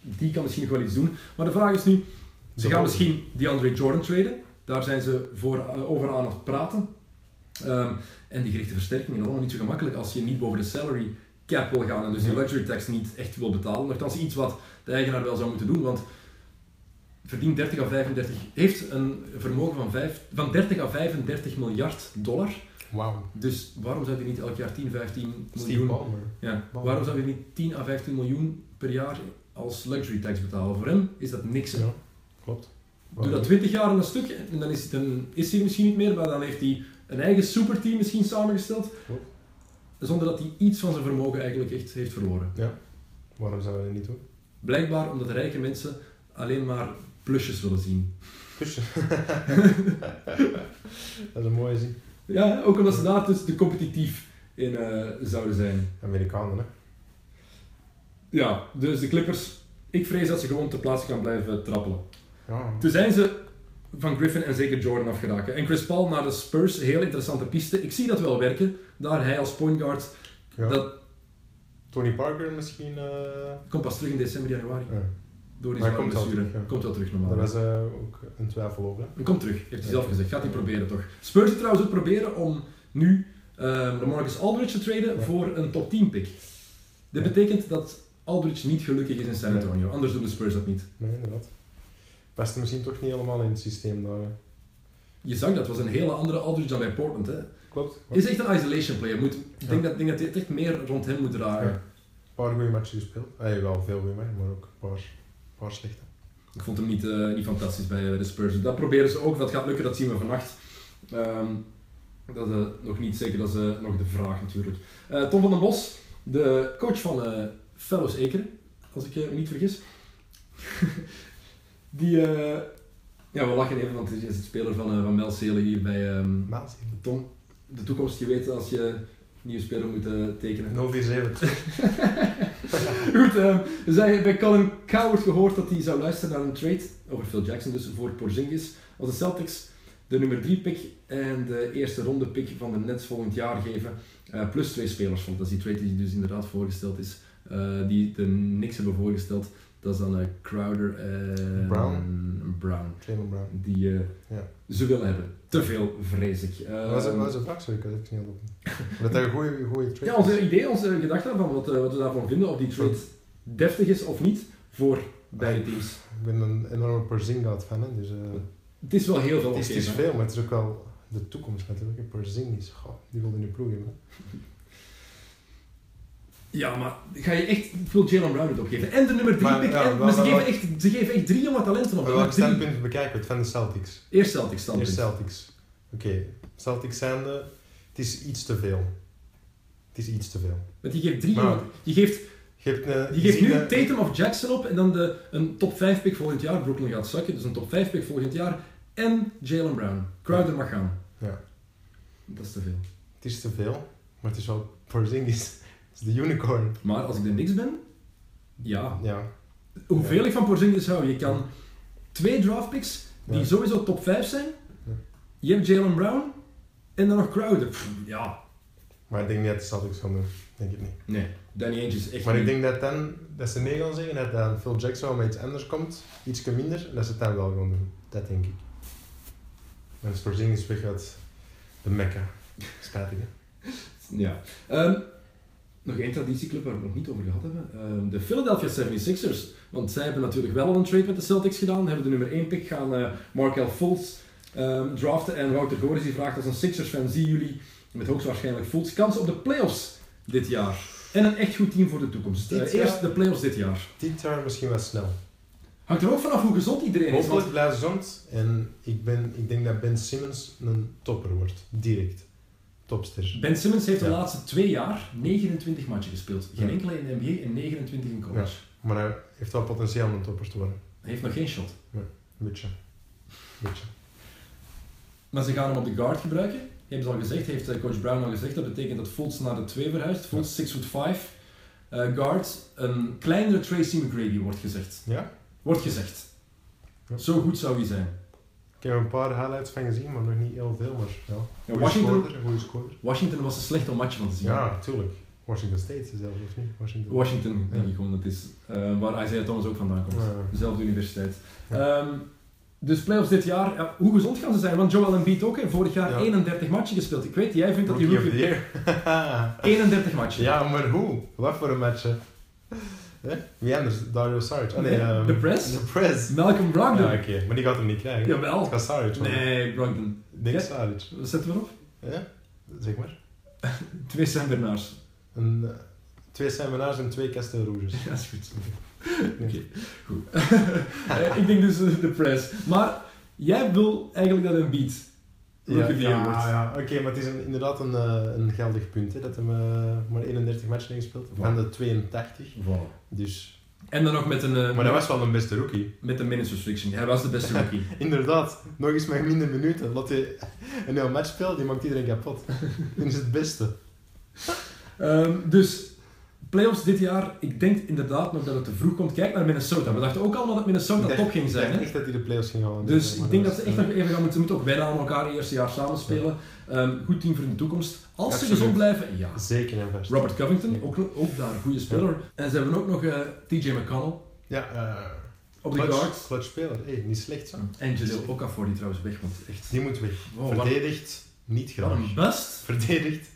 [SPEAKER 3] die kan misschien nog wel iets doen. Maar de vraag is nu, ze
[SPEAKER 4] De
[SPEAKER 3] gaan
[SPEAKER 4] Hawks.
[SPEAKER 3] misschien DeAndre Jordan traden. Daar zijn ze voor, eh, over aan het praten. Ehm, en die gerichte versterkingen allemaal niet zo gemakkelijk als je niet boven de salary cap wil gaan en dus die
[SPEAKER 4] Mhm.
[SPEAKER 3] luxury tax niet echt wil betalen. Nochtans iets wat de eigenaar wel zou moeten doen, want verdient 30 à 35, heeft een vermogen van, vijf, van 30 à 35 miljard dollar.
[SPEAKER 4] Wauw.
[SPEAKER 3] Dus waarom zou je niet elk jaar 10, 15
[SPEAKER 4] Steve
[SPEAKER 3] miljoen...
[SPEAKER 4] Ballmer.
[SPEAKER 3] Ja,
[SPEAKER 4] Bal.
[SPEAKER 3] waarom zou je niet 10 à 15 miljoen per jaar als luxury tax betalen? Voor hem is dat niks. hè.
[SPEAKER 4] Ja. Klopt.
[SPEAKER 3] Doe dat 20 jaar in een stuk en dan is, het een, is hij misschien niet meer, maar dan heeft hij een eigen superteam misschien samengesteld.
[SPEAKER 4] Klopt.
[SPEAKER 3] Zonder dat hij iets van zijn vermogen eigenlijk echt heeft verloren.
[SPEAKER 4] Waarom zouden we dat niet doen?
[SPEAKER 3] Blijkbaar omdat rijke mensen alleen maar plusjes willen zien.
[SPEAKER 4] Pushen. dat is een mooie zin.
[SPEAKER 3] Ja, ook omdat ze daar dus te competitief in eh, zouden zijn.
[SPEAKER 4] Amerikanen, hè.
[SPEAKER 3] Ja, dus de Clippers, ik vrees dat ze gewoon ter plaatse gaan blijven trappelen.
[SPEAKER 4] Ja.
[SPEAKER 3] Toen zijn ze van Griffin en zeker Jordan afgeraken. En Chris Paul naar de Spurs, heel interessante piste. Ik zie dat wel werken. Daar hij als point guard,
[SPEAKER 4] Ja.
[SPEAKER 3] dat
[SPEAKER 4] Tony Parker misschien... eh,
[SPEAKER 3] komt pas terug in december, januari.
[SPEAKER 4] ja.
[SPEAKER 3] Door die
[SPEAKER 4] Maar
[SPEAKER 3] zware
[SPEAKER 4] komt wel
[SPEAKER 3] blessure.
[SPEAKER 4] terug, ja.
[SPEAKER 3] Komt wel terug normaal.
[SPEAKER 4] Daar was eh, ook een twijfel over, hè.
[SPEAKER 3] Hij Komt terug, heeft hij zelf gezegd. Gaat hij proberen toch. Spurs die trouwens ook proberen om nu ehm Lamarcus Aldridge te traden
[SPEAKER 4] Ja.
[SPEAKER 3] voor een top 10 pick. Dit
[SPEAKER 4] Ja.
[SPEAKER 3] betekent dat Aldridge niet gelukkig is in San Antonio. Anders doen de Spurs dat niet.
[SPEAKER 4] Nee, inderdaad. Past misschien toch niet helemaal in het systeem daar. hè.
[SPEAKER 3] Je zag dat, was een hele andere Aldridge dan bij Portland. Hè.
[SPEAKER 4] Klopt.
[SPEAKER 3] Is echt een isolation player. Moet, ik
[SPEAKER 4] Ja.
[SPEAKER 3] denk dat, denk dat hij het echt meer rond hem moet draaien.
[SPEAKER 4] Ja. Een paar goede matchen gespeeld. Ah, wel veel goede matchen, maar ook een paar, een paar slechte.
[SPEAKER 3] Ik vond hem niet, eh, niet fantastisch bij eh, de Spurs. Dat proberen ze ook, dat gaat lukken, dat zien we vannacht. Ehm, dat is eh, nog niet zeker, dat is eh, nog de vraag natuurlijk. Eh, Tom van den Bos, de coach van eh Fellows Ekeren, als ik eh, me niet vergis. Die, eh, ja, we lachen even, want hij is het speler van, eh, van Mel Seelen hier bij ehm,
[SPEAKER 4] Maas.
[SPEAKER 3] Tom. De toekomst, je weet als je nieuwe speler moet eh, tekenen.
[SPEAKER 4] 047.
[SPEAKER 3] Goed, ehm, we zijn bij Colin Coward gehoord dat hij zou luisteren naar een trade over Phil Jackson, dus voor Porzingis. Als de Celtics de nummer 3 pick en de eerste ronde pick van de Nets volgend jaar geven, eh, plus twee spelers vond. Dat is die trade die dus inderdaad voorgesteld is, eh, die de niks hebben voorgesteld. Dat is dan eh, Crowder en
[SPEAKER 4] Brown.
[SPEAKER 3] Brown,
[SPEAKER 4] Clement Brown.
[SPEAKER 3] die eh,
[SPEAKER 4] Ja.
[SPEAKER 3] ze willen hebben. Te veel, vrees ik.
[SPEAKER 4] Dat was,
[SPEAKER 3] Ehm,
[SPEAKER 4] dat was een vraag, sorry, ik had het niet op. Dat hij een goede, goede trade
[SPEAKER 3] ja,
[SPEAKER 4] is.
[SPEAKER 3] onze idee, onze gedachte daarvan, wat, eh, wat we daarvan vinden, of die trade
[SPEAKER 4] Hmm.
[SPEAKER 3] deftig is of niet, voor beide
[SPEAKER 4] Ah.
[SPEAKER 3] teams.
[SPEAKER 4] Ik ben een enorme Porzinga fan, hè, dus eh,
[SPEAKER 3] Het is wel heel veel
[SPEAKER 4] het, is, het is
[SPEAKER 3] opgeven, hè.
[SPEAKER 4] veel, maar het is ook wel de toekomst natuurlijk. hè. Porzingis, goh, die wilde nu ploeg in.
[SPEAKER 3] Ja, maar ga je echt, ik wil Jalen Brown het opgeven. En de nummer 3
[SPEAKER 4] Maar,
[SPEAKER 3] pick.
[SPEAKER 4] ja,
[SPEAKER 3] en-
[SPEAKER 4] wel,
[SPEAKER 3] maar ze,
[SPEAKER 4] wel,
[SPEAKER 3] geven echt, ze geven echt drie jonge talenten op.
[SPEAKER 4] Op
[SPEAKER 3] de
[SPEAKER 4] welk
[SPEAKER 3] nummer drie.
[SPEAKER 4] standpunt bekijken we het? Van de Celtics.
[SPEAKER 3] Eerst Celtics dan.
[SPEAKER 4] Eerst Celtics. Oké, Celtics zijnde, het is iets te veel. Het is iets te veel.
[SPEAKER 3] Want je geeft drie
[SPEAKER 4] Maar-
[SPEAKER 3] jonge- Je geeft,
[SPEAKER 4] Je, hebt een,
[SPEAKER 3] je geeft
[SPEAKER 4] ziet
[SPEAKER 3] nu
[SPEAKER 4] een-
[SPEAKER 3] Tatum of Jackson op en dan de, een top 5 pick volgend jaar. Brooklyn gaat zakken, dus een top 5 pick volgend jaar. En Jalen Brown. Crowder mag gaan.
[SPEAKER 4] Ja.
[SPEAKER 3] Dat is te veel.
[SPEAKER 4] Het is te veel, maar het is wel Porzingis. Het is de unicorn.
[SPEAKER 3] Maar als ik er niks ben, ja.
[SPEAKER 4] Ja,
[SPEAKER 3] Hoeveel ik van Porzingis hou, je kan twee draft picks die
[SPEAKER 4] Ja.
[SPEAKER 3] sowieso top 5 zijn.
[SPEAKER 4] Ja.
[SPEAKER 3] Je hebt Jalen Brown en dan nog Crowder. Pff, ja.
[SPEAKER 4] maar ik denk niet dat de Celtics gaan doen. Denk ik niet.
[SPEAKER 3] Nee, Danny Ainge is echt
[SPEAKER 4] Maar ik
[SPEAKER 3] niet-
[SPEAKER 4] denk dat, dan, dat ze nee gaan zeggen, dat dan Phil Jackson wel met iets anders komt, iets minder, en dat ze het dan wel gaan doen. Dat denk ik. En als Porzingis weg gaat, de mekka. Spijtig, hè?
[SPEAKER 3] Ja. Ehm, nog één traditieclub waar we het nog niet over gehad hebben. Ehm, de Philadelphia 76ers. Want zij hebben natuurlijk wel al een trade met de Celtics gedaan. Hebben de nummer 1 pick gaan eh Markel Fultz ehm, draften. En Wouter Goris die vraagt als een Sixers fan, zien jullie met hoogstwaarschijnlijk Fultz kans op de playoffs dit jaar? En een echt goed team voor de toekomst.
[SPEAKER 4] Dit
[SPEAKER 3] Eh,
[SPEAKER 4] jaar?
[SPEAKER 3] eerst de playoffs dit jaar.
[SPEAKER 4] Dit jaar misschien wel snel.
[SPEAKER 3] Hangt er ook vanaf hoe gezond iedereen is. want-
[SPEAKER 4] Hopelijk blijft gezond en ik, ben, ik denk dat Ben Simmons een topper wordt. Direct. Topster.
[SPEAKER 3] Ben Simmons heeft de
[SPEAKER 4] Ja.
[SPEAKER 3] laatste twee jaar 29 matchen gespeeld. Geen
[SPEAKER 4] Ja.
[SPEAKER 3] enkele in de NBA en 29 in college.
[SPEAKER 4] Maar hij heeft wel potentieel om een topper te worden.
[SPEAKER 3] Hij heeft nog geen shot.
[SPEAKER 4] Een beetje. Een beetje.
[SPEAKER 3] Maar ze gaan hem op de guard gebruiken. Die hebben ze al gezegd, heeft eh, coach Brown al gezegd. Dat betekent dat Fultz naar de 2 verhuist. Fultz 6 foot 5. eh, guard een kleinere Tracy McGrady, wordt gezegd.
[SPEAKER 4] Ja?
[SPEAKER 3] Wordt gezegd.
[SPEAKER 4] Ja.
[SPEAKER 3] Zo goed zou hij zijn.
[SPEAKER 4] Ik heb er een paar highlights van gezien, maar nog niet heel veel. Maar ja.
[SPEAKER 3] Ja,
[SPEAKER 4] Goeie
[SPEAKER 3] Washington-
[SPEAKER 4] scorer, goeie scorer.
[SPEAKER 3] Washington was een slecht om match van te zien.
[SPEAKER 4] Ja, tuurlijk. Washington State zelfs, of niet? Washington.
[SPEAKER 3] Washington, denk
[SPEAKER 4] Ja.
[SPEAKER 3] ik gewoon dat is. eh, waar Isaiah Thomas ook vandaan komt.
[SPEAKER 4] Ja.
[SPEAKER 3] Dezelfde universiteit.
[SPEAKER 4] Ja.
[SPEAKER 3] Ehm, dus playoffs dit jaar, ja, hoe gezond gaan ze zijn? Want Joel Embiid ook, hè, vorig jaar
[SPEAKER 4] Ja.
[SPEAKER 3] 31 matchen gespeeld. Ik weet, jij vindt dat hij
[SPEAKER 4] Rookie of the
[SPEAKER 3] rookie...
[SPEAKER 4] year.
[SPEAKER 3] 31 matchen.
[SPEAKER 4] ja, maar hoe? Wat voor een match, hè? Hè? Wie anders? Dario Saric. Ah, nee,
[SPEAKER 3] Nee,
[SPEAKER 4] ehm,
[SPEAKER 3] De Press?
[SPEAKER 4] De Press.
[SPEAKER 3] Malcolm
[SPEAKER 4] Ja,
[SPEAKER 3] Brogdon.
[SPEAKER 4] oké. Maar die gaat hem niet krijgen.
[SPEAKER 3] Jawel.
[SPEAKER 4] Het gaat Saric worden.
[SPEAKER 3] Nee, Brogdon.
[SPEAKER 4] Ik Denk
[SPEAKER 3] Ja.
[SPEAKER 4] Saric.
[SPEAKER 3] Wat zetten we erop?
[SPEAKER 4] Ja? Zeg maar.
[SPEAKER 3] Twee Sam Bernards.
[SPEAKER 4] Een, eh, twee seminars en twee kasten roosjes.
[SPEAKER 3] Ja, is goed. Oké, goed. Eh, ik denk dus eh, de Press. Maar jij wil eigenlijk dat Embiid
[SPEAKER 4] Ja,
[SPEAKER 3] rookie
[SPEAKER 4] ja,
[SPEAKER 3] of the year wordt.
[SPEAKER 4] ja. oké, maar het is een, inderdaad een, eh, een geldig punt hè, dat hij maar 31 matchen heeft gespeeld
[SPEAKER 3] Wow.
[SPEAKER 4] van de 82.
[SPEAKER 3] Voilà.
[SPEAKER 4] Dus.
[SPEAKER 3] En dan nog met een, eh,
[SPEAKER 4] Maar dat was wel een beste rookie.
[SPEAKER 3] met een minutes restriction. Hij was de beste rookie.
[SPEAKER 4] Inderdaad, nog eens met minder minuten. Laat hij een heel match spelen, die maakt iedereen kapot. Dat is het beste.
[SPEAKER 3] Ehm, dus playoffs dit jaar, ik denk inderdaad nog dat het te vroeg komt. Kijk naar Minnesota. We dachten ook allemaal dat
[SPEAKER 4] Ik
[SPEAKER 3] Minnesota
[SPEAKER 4] dacht-
[SPEAKER 3] top ging
[SPEAKER 4] ik
[SPEAKER 3] zijn.
[SPEAKER 4] dacht
[SPEAKER 3] hè?
[SPEAKER 4] echt dat hij de playoffs ging halen. eh,
[SPEAKER 3] Dus
[SPEAKER 4] Maar
[SPEAKER 3] ik denk dat
[SPEAKER 4] was-
[SPEAKER 3] ze echt nog even gaan moeten, moeten ook wennen aan elkaar, eerste jaar samen spelen. Ehm, goed team voor de toekomst. Als ze
[SPEAKER 4] Absoluut.
[SPEAKER 3] gezond blijven, ja.
[SPEAKER 4] eh, Zeker en vast.
[SPEAKER 3] Robert Covington, ook, ook daar een goede speler. En ze hebben ook nog eh, TJ McConnell
[SPEAKER 4] Ja, eh,
[SPEAKER 3] op de
[SPEAKER 4] clutch-
[SPEAKER 3] guard.
[SPEAKER 4] clutch speler. Hey, niet slecht zo.
[SPEAKER 3] En Jaleel Okafor, die trouwens weg moet. Echt
[SPEAKER 4] Die moet weg.
[SPEAKER 3] Wow, Oh, wat-
[SPEAKER 4] Verdedigd, niet
[SPEAKER 3] wat
[SPEAKER 4] graag.
[SPEAKER 3] een best.
[SPEAKER 4] Verdedigd,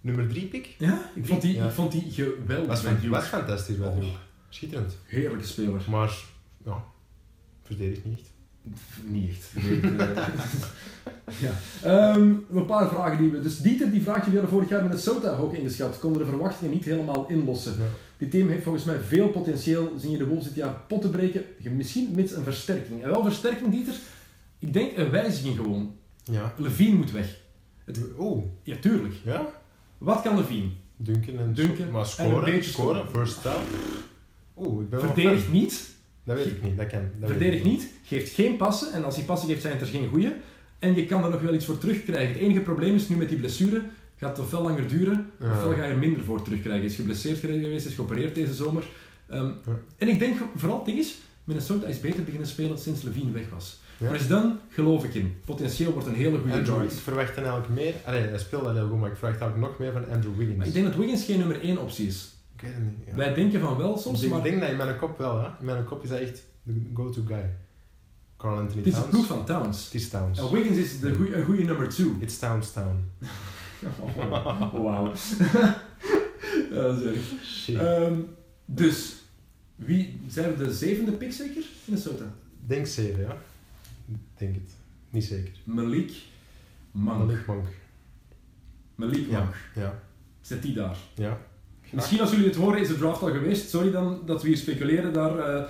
[SPEAKER 4] nummer 3 pick.
[SPEAKER 3] Ja, ik vond die,
[SPEAKER 4] Ja.
[SPEAKER 3] ik vond die geweldig.
[SPEAKER 4] Was,
[SPEAKER 3] met
[SPEAKER 4] fan-
[SPEAKER 3] Duke.
[SPEAKER 4] was fantastisch bij
[SPEAKER 3] Oh.
[SPEAKER 4] Duke. Schitterend.
[SPEAKER 3] Heerlijke speler.
[SPEAKER 4] Maar, ja, verdedigd niet echt.
[SPEAKER 3] Niet echt. Nee, eh, ja. Ehm, een paar vragen die we. Dus Dieter, die vraagje werden vorig jaar Minnesota hoog ingeschat. Konden de verwachtingen niet helemaal inlossen.
[SPEAKER 4] Ja.
[SPEAKER 3] Dit team heeft volgens mij veel potentieel. Zien je de Wolves dit jaar potten breken? Je- Misschien mits een versterking. En wel versterking, Dieter. Ik denk een wijziging gewoon.
[SPEAKER 4] Ja.
[SPEAKER 3] Levine moet weg.
[SPEAKER 4] Oeh,
[SPEAKER 3] Ja, tuurlijk.
[SPEAKER 4] ja?
[SPEAKER 3] Wat kan Levine?
[SPEAKER 4] Duncan en
[SPEAKER 3] Duncan
[SPEAKER 4] maar
[SPEAKER 3] en
[SPEAKER 4] scoren,
[SPEAKER 3] een beetje
[SPEAKER 4] scoren, first down. Oeh, ik ben wel
[SPEAKER 3] Verdedigt
[SPEAKER 4] fan.
[SPEAKER 3] niet.
[SPEAKER 4] Dat weet ik niet, dat kan. Dat
[SPEAKER 3] Verdedigt
[SPEAKER 4] weet ik
[SPEAKER 3] niet. Geeft geen passen. En als hij passen geeft, zijn het er geen goeie. En je kan er nog wel iets voor terugkrijgen. Het enige probleem is nu met die blessure. Gaat het veel langer duren.
[SPEAKER 4] Ja.
[SPEAKER 3] Ofwel ga je er minder voor terugkrijgen. Is geblesseerd geweest, is geopereerd deze zomer. Ehm,
[SPEAKER 4] Ja.
[SPEAKER 3] En ik denk vooral, het ding is, Minnesota is beter beginnen spelen sinds Levine weg was.
[SPEAKER 4] Ja.
[SPEAKER 3] Maar is dan geloof ik in. Potentieel wordt een hele goede
[SPEAKER 4] Andrew, ik
[SPEAKER 3] guard.
[SPEAKER 4] verwacht dan eigenlijk meer... Allee, hij speelt dat heel goed, maar ik verwacht eigenlijk nog meer van Andrew Wiggins.
[SPEAKER 3] Maar ik denk dat Wiggins geen nummer 1 optie is.
[SPEAKER 4] Ik weet het niet. ja.
[SPEAKER 3] Wij denken van wel soms,
[SPEAKER 4] ik denk,
[SPEAKER 3] maar
[SPEAKER 4] denk dat in mijn kop wel, hè. In mijn kop is hij echt de go-to guy. Carl Anthony
[SPEAKER 3] het is de
[SPEAKER 4] Towns.
[SPEAKER 3] ploeg van Towns.
[SPEAKER 4] Het is Towns.
[SPEAKER 3] En Wiggins is de goeie, een goede nummer 2.
[SPEAKER 4] It's Towns Town. Oh,
[SPEAKER 3] Wauw. Ja, zeg.
[SPEAKER 4] Shit.
[SPEAKER 3] Ehm, dus, wie zijn we de zevende pick zeker? Minnesota.
[SPEAKER 4] Denk zeven, ja. Denk het. Niet zeker.
[SPEAKER 3] Malik Mank.
[SPEAKER 4] Malik Monk.
[SPEAKER 3] Malik
[SPEAKER 4] Ja.
[SPEAKER 3] Mank.
[SPEAKER 4] Ja.
[SPEAKER 3] Zet die daar.
[SPEAKER 4] Ja.
[SPEAKER 3] Misschien als jullie het horen is de draft al geweest. Sorry dan dat we hier speculeren daar, eh,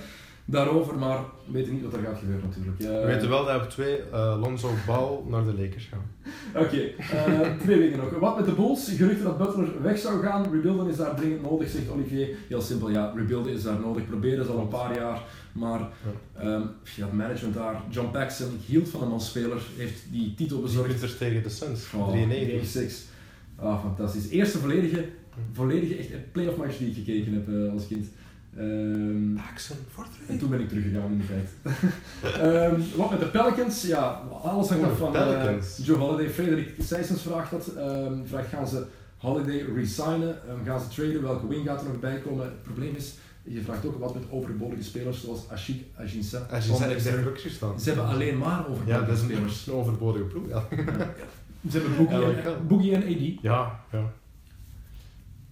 [SPEAKER 3] daarover, maar we weten niet wat er gaat gebeuren natuurlijk. Eh,
[SPEAKER 4] We weten wel dat we op twee eh, Lonzo Ball naar de Lakers gaan.
[SPEAKER 3] Oké, eh, twee dingen nog. Wat met de Bulls? Geruchten dat Butler weg zou gaan. Rebuilden is daar dringend nodig, zegt Olivier. Heel simpel, ja. Rebuilden is daar nodig. Proberen is al een paar jaar. Maar ehm ja, het management daar, John Paxson, ik hield van hem als speler. Heeft die titel bezorgd.
[SPEAKER 4] Zorgers tegen de Suns.
[SPEAKER 3] Oh,
[SPEAKER 4] 93.
[SPEAKER 3] 6 Ah, fantastisch. Eerste volledige, volledige echt een playoff match die ik gekeken heb eh, als kind. Ehm,
[SPEAKER 4] Paxson Fortree.
[SPEAKER 3] en toen ben ik teruggegaan in de feit. Ehm, wat met de Pelicans? Ja, alles hangt
[SPEAKER 4] Oh,
[SPEAKER 3] af van
[SPEAKER 4] de
[SPEAKER 3] eh
[SPEAKER 4] Pelicans.
[SPEAKER 3] Joe Holiday. Frederik Sijsens vraagt dat. Ehm, vraagt, gaan ze Holiday resignen? Ehm, gaan ze traden? Welke wing gaat er nog bij komen? Het probleem is, je vraagt ook wat met overbodige spelers zoals Ashik, Ajinsa.
[SPEAKER 4] Als je zei, ik
[SPEAKER 3] Ze
[SPEAKER 4] zeg
[SPEAKER 3] hebben-
[SPEAKER 4] Luxus staan.
[SPEAKER 3] ze hebben alleen maar
[SPEAKER 4] Ja,
[SPEAKER 3] overbodige
[SPEAKER 4] dat is een,
[SPEAKER 3] spelers.
[SPEAKER 4] een overbodige ploeg. Ja.
[SPEAKER 3] Ze hebben Boogie,
[SPEAKER 4] Ja, dat
[SPEAKER 3] en,
[SPEAKER 4] kan.
[SPEAKER 3] Boogie en AD.
[SPEAKER 4] Ja, ja.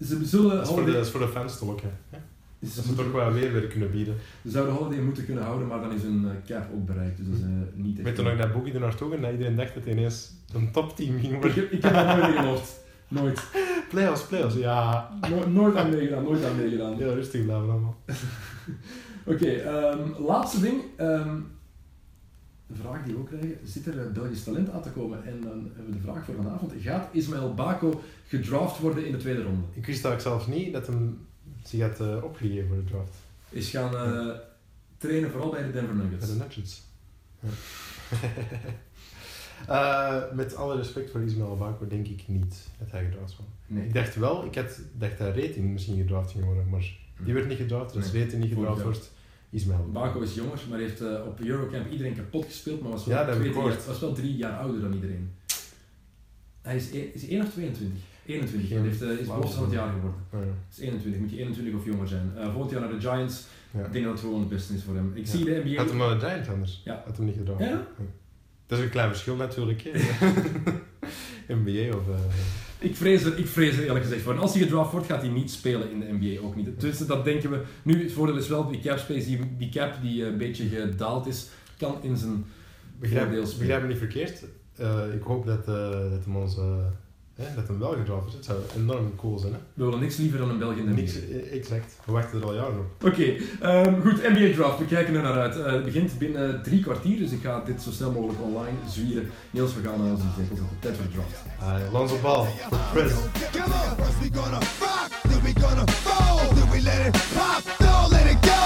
[SPEAKER 3] Ze zullen
[SPEAKER 4] Dat, is voor de,
[SPEAKER 3] Holiday,
[SPEAKER 4] dat is voor de fans toch ook, hè.
[SPEAKER 3] ze
[SPEAKER 4] Ze moeten toch wel weer weer kunnen bieden.
[SPEAKER 3] ze zouden Holiday moeten kunnen houden, maar dan is hun eh, cap ook bereikt. Dus dat is eh, niet echt.
[SPEAKER 4] Weet je nog dat Boogie er naartoe ging, dat iedereen dacht dat hij ineens een topteam ging
[SPEAKER 3] ik,
[SPEAKER 4] worden?
[SPEAKER 3] heb- ik heb dat nooit geloofd. Nooit.
[SPEAKER 4] Playoffs, playoffs. Ja,
[SPEAKER 3] No- nooit aan meegedaan, nooit aan meegedaan. Oké,
[SPEAKER 4] heel rustig blijven allemaal.
[SPEAKER 3] ehm, laatste ding. ehm, een vraag die we ook krijgen. Zit er eh, Belgisch talent aan te komen? En dan hebben we de vraag voor vanavond. Gaat Ismaël Bako gedraft worden in de tweede ronde?
[SPEAKER 4] Ik wist eigenlijk zelfs niet dat hem zich had eh, opgegeven voor de draft.
[SPEAKER 3] Is gaan eh, trainen vooral bij de Denver
[SPEAKER 4] Bij
[SPEAKER 3] Nuggets.
[SPEAKER 4] de Nuggets. Ja. Eh, met alle respect voor Ismail Bako denk ik niet dat hij gedraft was.
[SPEAKER 5] Nee.
[SPEAKER 4] Ik dacht wel, ik had, dacht dat Rating misschien gedraft ging worden, maar die werd niet gedraft. Dus als
[SPEAKER 5] Nee.
[SPEAKER 4] Rating niet
[SPEAKER 3] Vorig
[SPEAKER 4] gedraft
[SPEAKER 3] jaar.
[SPEAKER 4] wordt, Ismail
[SPEAKER 3] Bako is jonger, maar heeft eh, op Eurocamp iedereen kapot gespeeld, maar was wel,
[SPEAKER 4] Ja, dat heb
[SPEAKER 3] twee,
[SPEAKER 4] ik
[SPEAKER 3] drie jaar-
[SPEAKER 4] gehoord.
[SPEAKER 3] was wel drie jaar ouder dan iedereen. Hij is, e- is hij 1 of 22? 21,
[SPEAKER 4] Geen
[SPEAKER 3] hij heeft, eh, is
[SPEAKER 4] flauw
[SPEAKER 3] bovenste van het
[SPEAKER 4] idee.
[SPEAKER 3] jaar geworden.
[SPEAKER 4] Ah, ja.
[SPEAKER 3] Is 21, moet hij 21 of jonger zijn. Eh volgend jaar naar de Giants,
[SPEAKER 4] Ja.
[SPEAKER 3] ik denk dat het gewoon het beste is voor hem. Ik
[SPEAKER 4] Ja.
[SPEAKER 3] zie de NBA...
[SPEAKER 4] Had hem wel gedraaid anders.
[SPEAKER 3] Ja.
[SPEAKER 4] Had hem niet gedraaid.
[SPEAKER 3] Ja?
[SPEAKER 4] Dat is een klein verschil natuurlijk. hè. NBA of... eh,
[SPEAKER 3] Ik vrees, er, ik vrees er eerlijk gezegd voor. En als hij gedraft wordt, gaat hij niet spelen in de NBA ook niet. Dus dat denken we. Nu, het voordeel is wel, die cap space, die, die cap die eh, een beetje gedaald is, kan in zijn...
[SPEAKER 4] Begrijp,
[SPEAKER 3] voordeel spelen.
[SPEAKER 4] begrijp me niet verkeerd. Eh, ik hoop dat, eh, dat hem ons... eh, hè, dat hem wel gedraft wordt. Het zou enorm cool zijn. Hè?
[SPEAKER 3] We willen niks liever dan een België in de NBA.
[SPEAKER 4] Niks, eh, exact. We wachten er al jaren op.
[SPEAKER 3] Oké, ehm, goed, NBA Draft, we kijken er naar uit. Eh, het begint binnen drie kwartier, dus ik ga dit zo snel mogelijk online zwieren. Niels, we gaan eh, naar onze zetel. Tijd voor de draft.
[SPEAKER 4] Ah, Lonzo Ball voor president.
[SPEAKER 2] Come on. First we gonna rock, then we gonna roll, then we let it pop, don't let it go.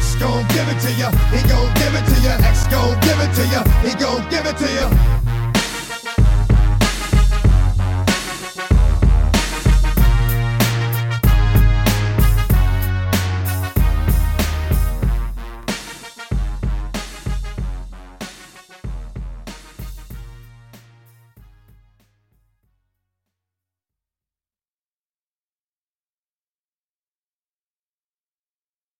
[SPEAKER 2] X gon' give it to ya, he gon' give it to ya. X gon' give it to ya, he gon' give it to ya.